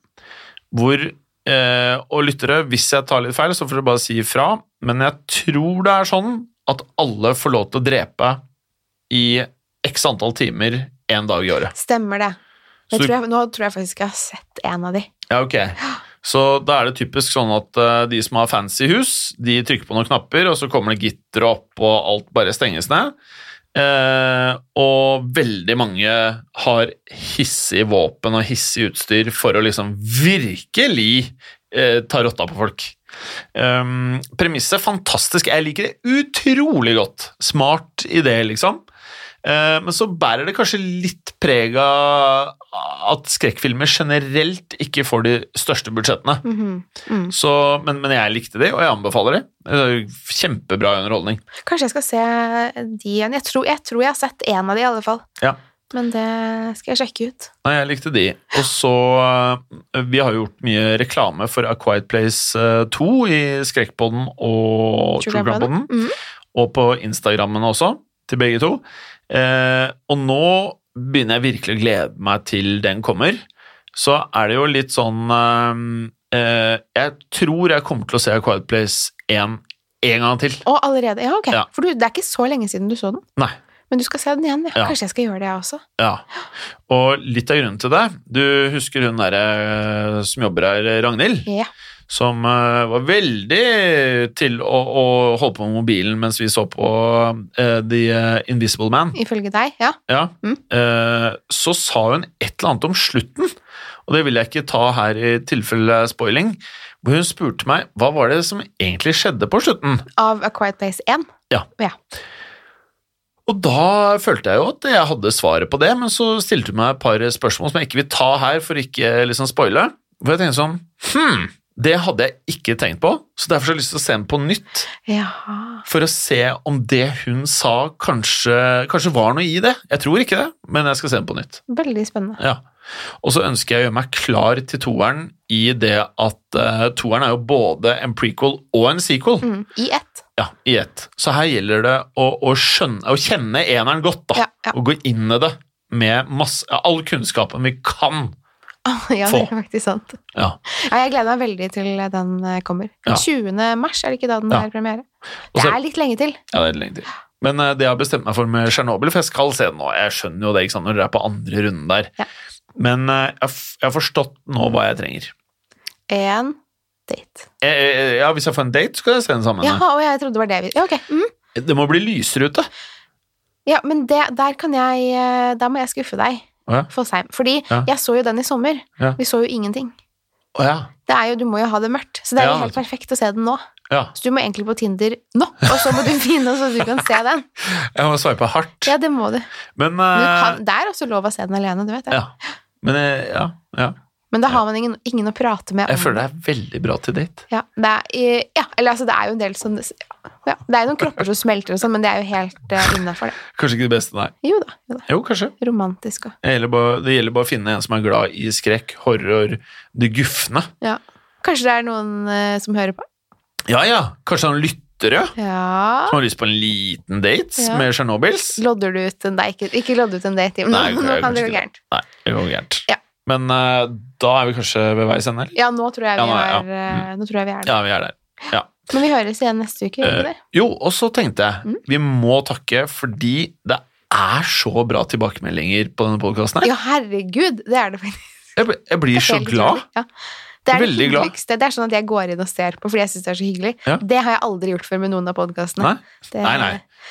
[SPEAKER 1] hvor eh, Og lyttere, hvis jeg tar litt feil, så får dere bare si ifra, men jeg tror det er sånn at alle får lov til å drepe i x antall timer én dag i året.
[SPEAKER 2] Stemmer det.
[SPEAKER 1] Så
[SPEAKER 2] Jeg
[SPEAKER 1] du-
[SPEAKER 2] tror jeg, nå tror jeg faktisk jeg har sett en av de.
[SPEAKER 1] Ja, ok. Så da er det typisk sånn at eh, de som har fancy hus, de trykker på noen knapper, og så kommer det gitter opp, og alt bare stenges ned. Eh, og veldig mange har hissig våpen og hissig utstyr for å liksom virkelig eh, ta rotta på folk. Um, premisset fantastisk. Jeg liker det utrolig godt. Smart idé, liksom. Eh, Men så bærer det kanskje litt preg av at skrekkfilmer generelt ikke får de største budsjettene.
[SPEAKER 2] Mhm. Mm.
[SPEAKER 1] Så, men, men jeg likte de, og jeg anbefaler de. Det er jo Kjempebra underholdning.
[SPEAKER 2] Kanskje jeg skal se de igjen. Jeg tror, jeg tror jeg har sett en av de i alle fall.
[SPEAKER 1] Ja.
[SPEAKER 2] Men det skal jeg sjekke ut.
[SPEAKER 1] Nei, jeg likte de. Og så eh, Vi har jo gjort mye reklame for A Quiet Place eh, 2 i Skrekkpodden og True
[SPEAKER 2] Crime
[SPEAKER 1] Crime-podden.
[SPEAKER 2] Podden. Mhm.
[SPEAKER 1] og på Instagrammene også, til begge to. Eh, og nå begynner jeg virkelig å glede meg til den kommer. Så er det jo litt sånn eh, eh, Jeg tror jeg kommer til å se A Quiet Place 1 en gang til.
[SPEAKER 2] Å, allerede? Ja, ok.
[SPEAKER 1] Ja.
[SPEAKER 2] For du, det er ikke så lenge siden du så den.
[SPEAKER 1] Nei.
[SPEAKER 2] Men du skal se den igjen, ja.
[SPEAKER 1] Ja.
[SPEAKER 2] Kanskje jeg skal gjøre det, jeg også.
[SPEAKER 1] Ja. Og litt av grunnen til det Du husker hun derre eh, som jobber her, Ragnhild?
[SPEAKER 2] Ja.
[SPEAKER 1] Som eh, var veldig til å, å holde på med mobilen mens vi så på eh, The eh, Invisible Man.
[SPEAKER 2] Ifølge deg, ja.
[SPEAKER 1] Ja.
[SPEAKER 2] Mm.
[SPEAKER 1] Eh, så sa hun et eller annet om slutten, og det vil jeg ikke ta her i tilfelle spoiling, hvor hun spurte meg hva var det som egentlig skjedde på slutten.
[SPEAKER 2] Av A Quiet Place 1.
[SPEAKER 1] Og da følte jeg jo at jeg hadde svaret på det, men så stilte hun meg et par spørsmål som jeg ikke vil ta her for ikke eh, liksom spoile. Hvor jeg tenkte sånn Hm, det hadde jeg ikke tenkt på, så derfor så har jeg lyst til å se den på nytt.
[SPEAKER 2] Jaha.
[SPEAKER 1] For å se om det hun sa, kanskje, kanskje var noe i det. Jeg tror ikke det, men jeg skal se den på nytt.
[SPEAKER 2] Veldig spennende.
[SPEAKER 1] Ja. Og så ønsker jeg å gjøre meg klar til toeren i det at eh, toeren er jo både en prequel og en sequel.
[SPEAKER 2] Mm. I ett.
[SPEAKER 1] Ja, i ett. Så her gjelder det å, å skjønne, å kjenne eneren godt, da.
[SPEAKER 2] Ja, ja.
[SPEAKER 1] Og gå inn i det med masse, ja, all kunnskapen vi kan.
[SPEAKER 2] ja, det
[SPEAKER 1] Få.
[SPEAKER 2] er faktisk sant.
[SPEAKER 1] Ja.
[SPEAKER 2] Ja, jeg gleder meg veldig til den eh, kommer.
[SPEAKER 1] Ja.
[SPEAKER 2] 20. mars, er det ikke da den
[SPEAKER 1] Ja.
[SPEAKER 2] er premiere?
[SPEAKER 1] Og så-
[SPEAKER 2] Det er litt lenge til.
[SPEAKER 1] ja, det er lenge til. Men eh, det jeg har bestemt meg for med Tsjernobyl, for jeg skal se den nå, jeg skjønner jo det ikke sant, når dere er på andre runden der.
[SPEAKER 2] Ja.
[SPEAKER 1] Men eh, jeg, har f- jeg har forstått nå hva jeg trenger.
[SPEAKER 2] En date.
[SPEAKER 1] Eh, eh, Ja, Hvis jeg får en date, skal jeg se den sammen.
[SPEAKER 2] Jaha, og jeg trodde det var det vi Ja, ok. Mm.
[SPEAKER 1] Det må bli lysere ute.
[SPEAKER 2] Ja, men det, der kan jeg eh, Der må jeg skuffe deg,
[SPEAKER 1] Å ja.
[SPEAKER 2] Fosheim. Fordi
[SPEAKER 1] Ja.
[SPEAKER 2] jeg så jo den i sommer.
[SPEAKER 1] Ja.
[SPEAKER 2] Vi så jo ingenting.
[SPEAKER 1] Å ja.
[SPEAKER 2] Det er jo, Du må jo ha det mørkt, så det er
[SPEAKER 1] Ja.
[SPEAKER 2] jo helt perfekt å se den nå.
[SPEAKER 1] Ja,
[SPEAKER 2] Så du må egentlig på Tinder nå, og så må du finne den så du kan se den.
[SPEAKER 1] jeg må sveipe hardt.
[SPEAKER 2] Ja, det må du.
[SPEAKER 1] Men,
[SPEAKER 2] Men du
[SPEAKER 1] eh,
[SPEAKER 2] kan, det er også lov å se den alene, du vet det.
[SPEAKER 1] ja. Men eh, ja, ja.
[SPEAKER 2] Men da har man ingen, ingen å prate med om
[SPEAKER 1] Jeg føler det er veldig bra til date.
[SPEAKER 2] Ja, det er, eh, ja, eller altså, det er jo en del sånn ja, Det er jo noen kropper som smelter og sånn, men det er jo helt uh, innafor, det.
[SPEAKER 1] Kanskje ikke det beste, nei.
[SPEAKER 2] Jo da. Jo da.
[SPEAKER 1] Jo, kanskje.
[SPEAKER 2] Romantisk og
[SPEAKER 1] Det gjelder bare, det gjelder bare å finne en som er glad i skrekk, horror, det gufne.
[SPEAKER 2] Ja. Kanskje det er noen eh, som hører på?
[SPEAKER 1] Ja, ja. Kanskje han lytter, ja.
[SPEAKER 2] Ja
[SPEAKER 1] Som har lyst på en liten date
[SPEAKER 2] Ja.
[SPEAKER 1] med Tsjernobyls.
[SPEAKER 2] Lodder du ut en Nei, ikke, ikke lodde ut en date. Nå,
[SPEAKER 1] Nei, jeg-
[SPEAKER 2] nå
[SPEAKER 1] jeg-
[SPEAKER 2] kan
[SPEAKER 1] kanskje
[SPEAKER 2] det gå
[SPEAKER 1] ikke
[SPEAKER 2] gærent.
[SPEAKER 1] Nei, det går gærent.
[SPEAKER 2] Ja.
[SPEAKER 1] Men eh, da er vi kanskje ved veis ende? eller?
[SPEAKER 2] Ja, nå tror jeg vi
[SPEAKER 1] Ja, nå er- ja.
[SPEAKER 2] er, eh, nå tror jeg vi er der.
[SPEAKER 1] Ja, vi er der. Ja. Eh,
[SPEAKER 2] Men vi høres igjen neste uke. gjør vi Mm. det?
[SPEAKER 1] Jo, og så tenkte jeg, vi må takke fordi det er så bra tilbakemeldinger på denne podkasten her.
[SPEAKER 2] Ja, herregud! Det er det faktisk.
[SPEAKER 1] Jeg, bl- jeg blir så
[SPEAKER 2] Helt
[SPEAKER 1] glad.
[SPEAKER 2] utrolig. Ja. Det er det
[SPEAKER 1] Veldig glad.
[SPEAKER 2] hyggeligste. Det er sånn at jeg går inn og ser på fordi jeg syns det er så hyggelig.
[SPEAKER 1] Ja.
[SPEAKER 2] Det har jeg aldri gjort før med noen av podkastene.
[SPEAKER 1] Nei? Nei, nei.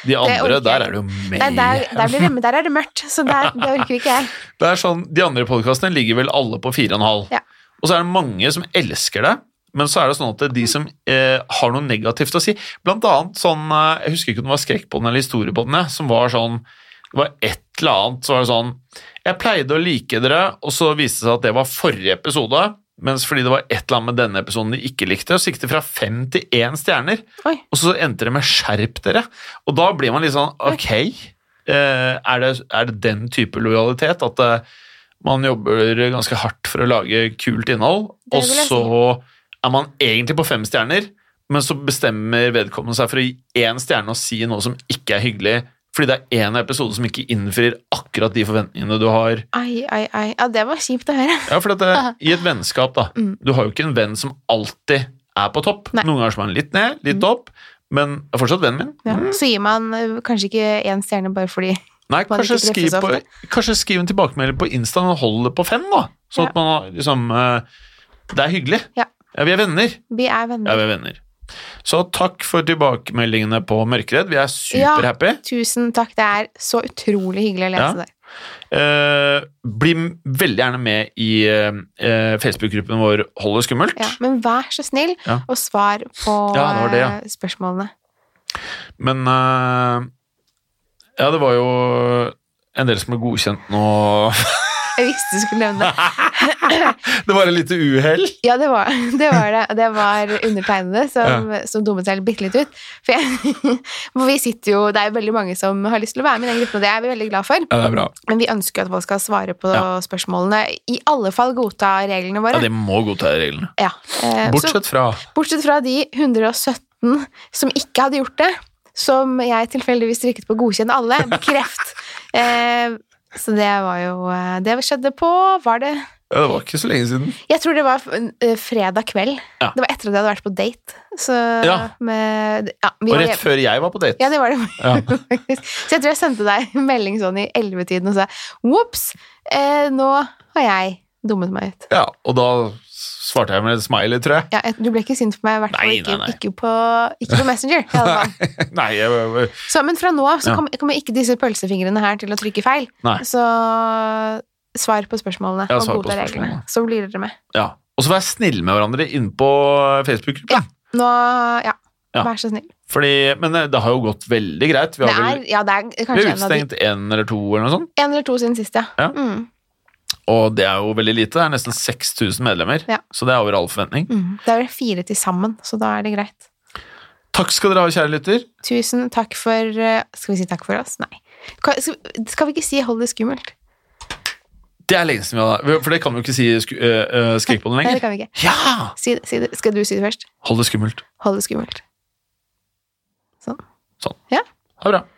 [SPEAKER 1] De andre,
[SPEAKER 2] orker jeg
[SPEAKER 1] der
[SPEAKER 2] ikke.
[SPEAKER 1] er det jo
[SPEAKER 2] Nei, der,
[SPEAKER 1] mer
[SPEAKER 2] der, blir det, men der er det mørkt, så der, det orker ikke jeg.
[SPEAKER 1] Det er sånn, De andre podkastene ligger vel alle på 4,5.
[SPEAKER 2] Ja.
[SPEAKER 1] Og så er det mange som elsker det, men så er det sånn at det er de som eh, har noe negativt å si Blant annet sånn eh, Jeg husker ikke om det var skrekkpodden eller historiepodden, jeg, som var sånn Det var et eller annet så var det sånn Jeg pleide å like dere, og så viste det seg at det var forrige episode. Mens fordi det var et eller annet med denne episoden de ikke likte, så gikk det fra fem til én stjerner.
[SPEAKER 2] Oi.
[SPEAKER 1] Og så endte det med 'skjerp dere'. Og da blir man litt sånn ok, eh, er det, er det den type lojalitet? At eh, man jobber ganske hardt for å lage kult innhold,
[SPEAKER 2] Det
[SPEAKER 1] og
[SPEAKER 2] vil jeg
[SPEAKER 1] så er man egentlig på fem stjerner, men så bestemmer vedkommende seg for å gi én stjerne og si noe som ikke er hyggelig, fordi det er én episode som ikke innfrir akkurat de forventningene du har.
[SPEAKER 2] Ai, ai, ai. Ja, det var kjipt å høre.
[SPEAKER 1] Ja, for at det, I et vennskap, da.
[SPEAKER 2] Mm.
[SPEAKER 1] Du har jo ikke en venn som alltid er på topp.
[SPEAKER 2] Nei. Mm.
[SPEAKER 1] Noen ganger som er han litt ned, litt opp, men er fortsatt vennen min.
[SPEAKER 2] Ja.
[SPEAKER 1] Mm.
[SPEAKER 2] Så gir man eh, kanskje ikke én stjerne bare fordi
[SPEAKER 1] Nei,
[SPEAKER 2] Man
[SPEAKER 1] kanskje
[SPEAKER 2] ikke treffes
[SPEAKER 1] skriv, på, kanskje skriv en tilbakemelding på Insta og hold det på fem, da. Sånn
[SPEAKER 2] Ja.
[SPEAKER 1] at man har liksom eh, Det er hyggelig.
[SPEAKER 2] Ja. Mm.
[SPEAKER 1] vi er venner.
[SPEAKER 2] vi er
[SPEAKER 1] Ja,
[SPEAKER 2] venner.
[SPEAKER 1] vi er venner. Så takk for tilbakemeldingene på Mørkeredd. Vi er
[SPEAKER 2] Ja.
[SPEAKER 1] superhappy.
[SPEAKER 2] Tusen takk. Det er så utrolig hyggelig å lese
[SPEAKER 1] Ja.
[SPEAKER 2] det.
[SPEAKER 1] Eh, bli m- veldig gjerne med i eh, eh, Facebook-gruppen vår Hold det skummelt.
[SPEAKER 2] Ja, men vær så snill
[SPEAKER 1] Ja.
[SPEAKER 2] og svar på
[SPEAKER 1] Ja, det var det, ja.
[SPEAKER 2] eh, spørsmålene.
[SPEAKER 1] Men eh, Ja, det var jo en del som ble godkjent nå.
[SPEAKER 2] Jeg visste du skulle nevne det.
[SPEAKER 1] Det var et lite uhell.
[SPEAKER 2] Ja, det var det. Var det. Og det var undertegnede som, som dummet seg bitte litt ut. For, jeg, for vi sitter jo Det er jo veldig mange som har lyst til å være med i den gruppen, og det er vi veldig glad for.
[SPEAKER 1] Ja, det er bra.
[SPEAKER 2] Men vi ønsker jo at folk skal svare på
[SPEAKER 1] Ja.
[SPEAKER 2] spørsmålene. I alle fall godta reglene
[SPEAKER 1] Ja,
[SPEAKER 2] våre.
[SPEAKER 1] det må godta reglene.
[SPEAKER 2] Ja, eh, så-
[SPEAKER 1] Bortsett fra
[SPEAKER 2] Bortsett fra de 117 som ikke hadde gjort det, som jeg tilfeldigvis trykket på 'godkjenn alle', bekreft. eh, så det var jo eh, Det skjedde på Var det
[SPEAKER 1] Ja, det var ikke så lenge siden.
[SPEAKER 2] Jeg tror det var eh, fredag kveld.
[SPEAKER 1] Ja.
[SPEAKER 2] Det var etter at jeg hadde vært på date. Så
[SPEAKER 1] Ja.
[SPEAKER 2] med Ja, vi
[SPEAKER 1] Og
[SPEAKER 2] var
[SPEAKER 1] rett
[SPEAKER 2] hjemme.
[SPEAKER 1] før jeg var på date.
[SPEAKER 2] Ja, det var det.
[SPEAKER 1] Ja.
[SPEAKER 2] faktisk. Så jeg tror jeg sendte deg en melding sånn i 11-tiden og sa 'ops, eh, nå har jeg dummet meg ut'.
[SPEAKER 1] Ja, og da svarte jeg med et smiley, tror jeg.
[SPEAKER 2] Ja, jeg- du ble ikke sint på meg, i hvert fall
[SPEAKER 1] Nei, nei,
[SPEAKER 2] ikke,
[SPEAKER 1] nei.
[SPEAKER 2] ikke, på, ikke på Messenger. i alle fall.
[SPEAKER 1] Nei, jeg,
[SPEAKER 2] Så, men fra nå av så
[SPEAKER 1] Ja.
[SPEAKER 2] kom- kommer ikke disse pølsefingrene her til å trykke feil.
[SPEAKER 1] Nei.
[SPEAKER 2] Så svar på spørsmålene
[SPEAKER 1] Ja,
[SPEAKER 2] og
[SPEAKER 1] svar på
[SPEAKER 2] godta reglene.
[SPEAKER 1] spørsmålene.
[SPEAKER 2] Så blir dere med.
[SPEAKER 1] ja. Og så vær snille med hverandre inne på Facebook-gruppa.
[SPEAKER 2] Nå, ja,
[SPEAKER 1] Ja.
[SPEAKER 2] vær så snill.
[SPEAKER 1] Fordi- Men eh, det har jo gått veldig greit. Vi
[SPEAKER 2] Det
[SPEAKER 1] har vel
[SPEAKER 2] er, ja, det er
[SPEAKER 1] vi
[SPEAKER 2] kanskje
[SPEAKER 1] har
[SPEAKER 2] en av de
[SPEAKER 1] utstengt én eller to, eller noe sånt.
[SPEAKER 2] En eller to siden sist, ja.
[SPEAKER 1] Ja.
[SPEAKER 2] Mm,
[SPEAKER 1] Og det er jo veldig lite. Det er nesten 6000 medlemmer.
[SPEAKER 2] Ja.
[SPEAKER 1] Så det er over all forventning.
[SPEAKER 2] mm. Det er vel fire til sammen, så da er det greit.
[SPEAKER 1] Takk skal dere ha, kjære lytter.
[SPEAKER 2] Tusen takk for eh, Skal vi si takk for oss? Nei. Ka- Skal skal vi ikke si hold det skummelt?
[SPEAKER 1] Det er lenge siden vi har For det kan vi jo ikke si sku, øh, øh, Skrikbollen
[SPEAKER 2] Nei, det
[SPEAKER 1] lenger.
[SPEAKER 2] kan vi ikke.
[SPEAKER 1] Ja!
[SPEAKER 2] Si, det- si det. Skal du si det først?
[SPEAKER 1] Hold det skummelt.
[SPEAKER 2] Hold det skummelt. Sånn.
[SPEAKER 1] Sånn.
[SPEAKER 2] Ja.
[SPEAKER 1] Ha det bra.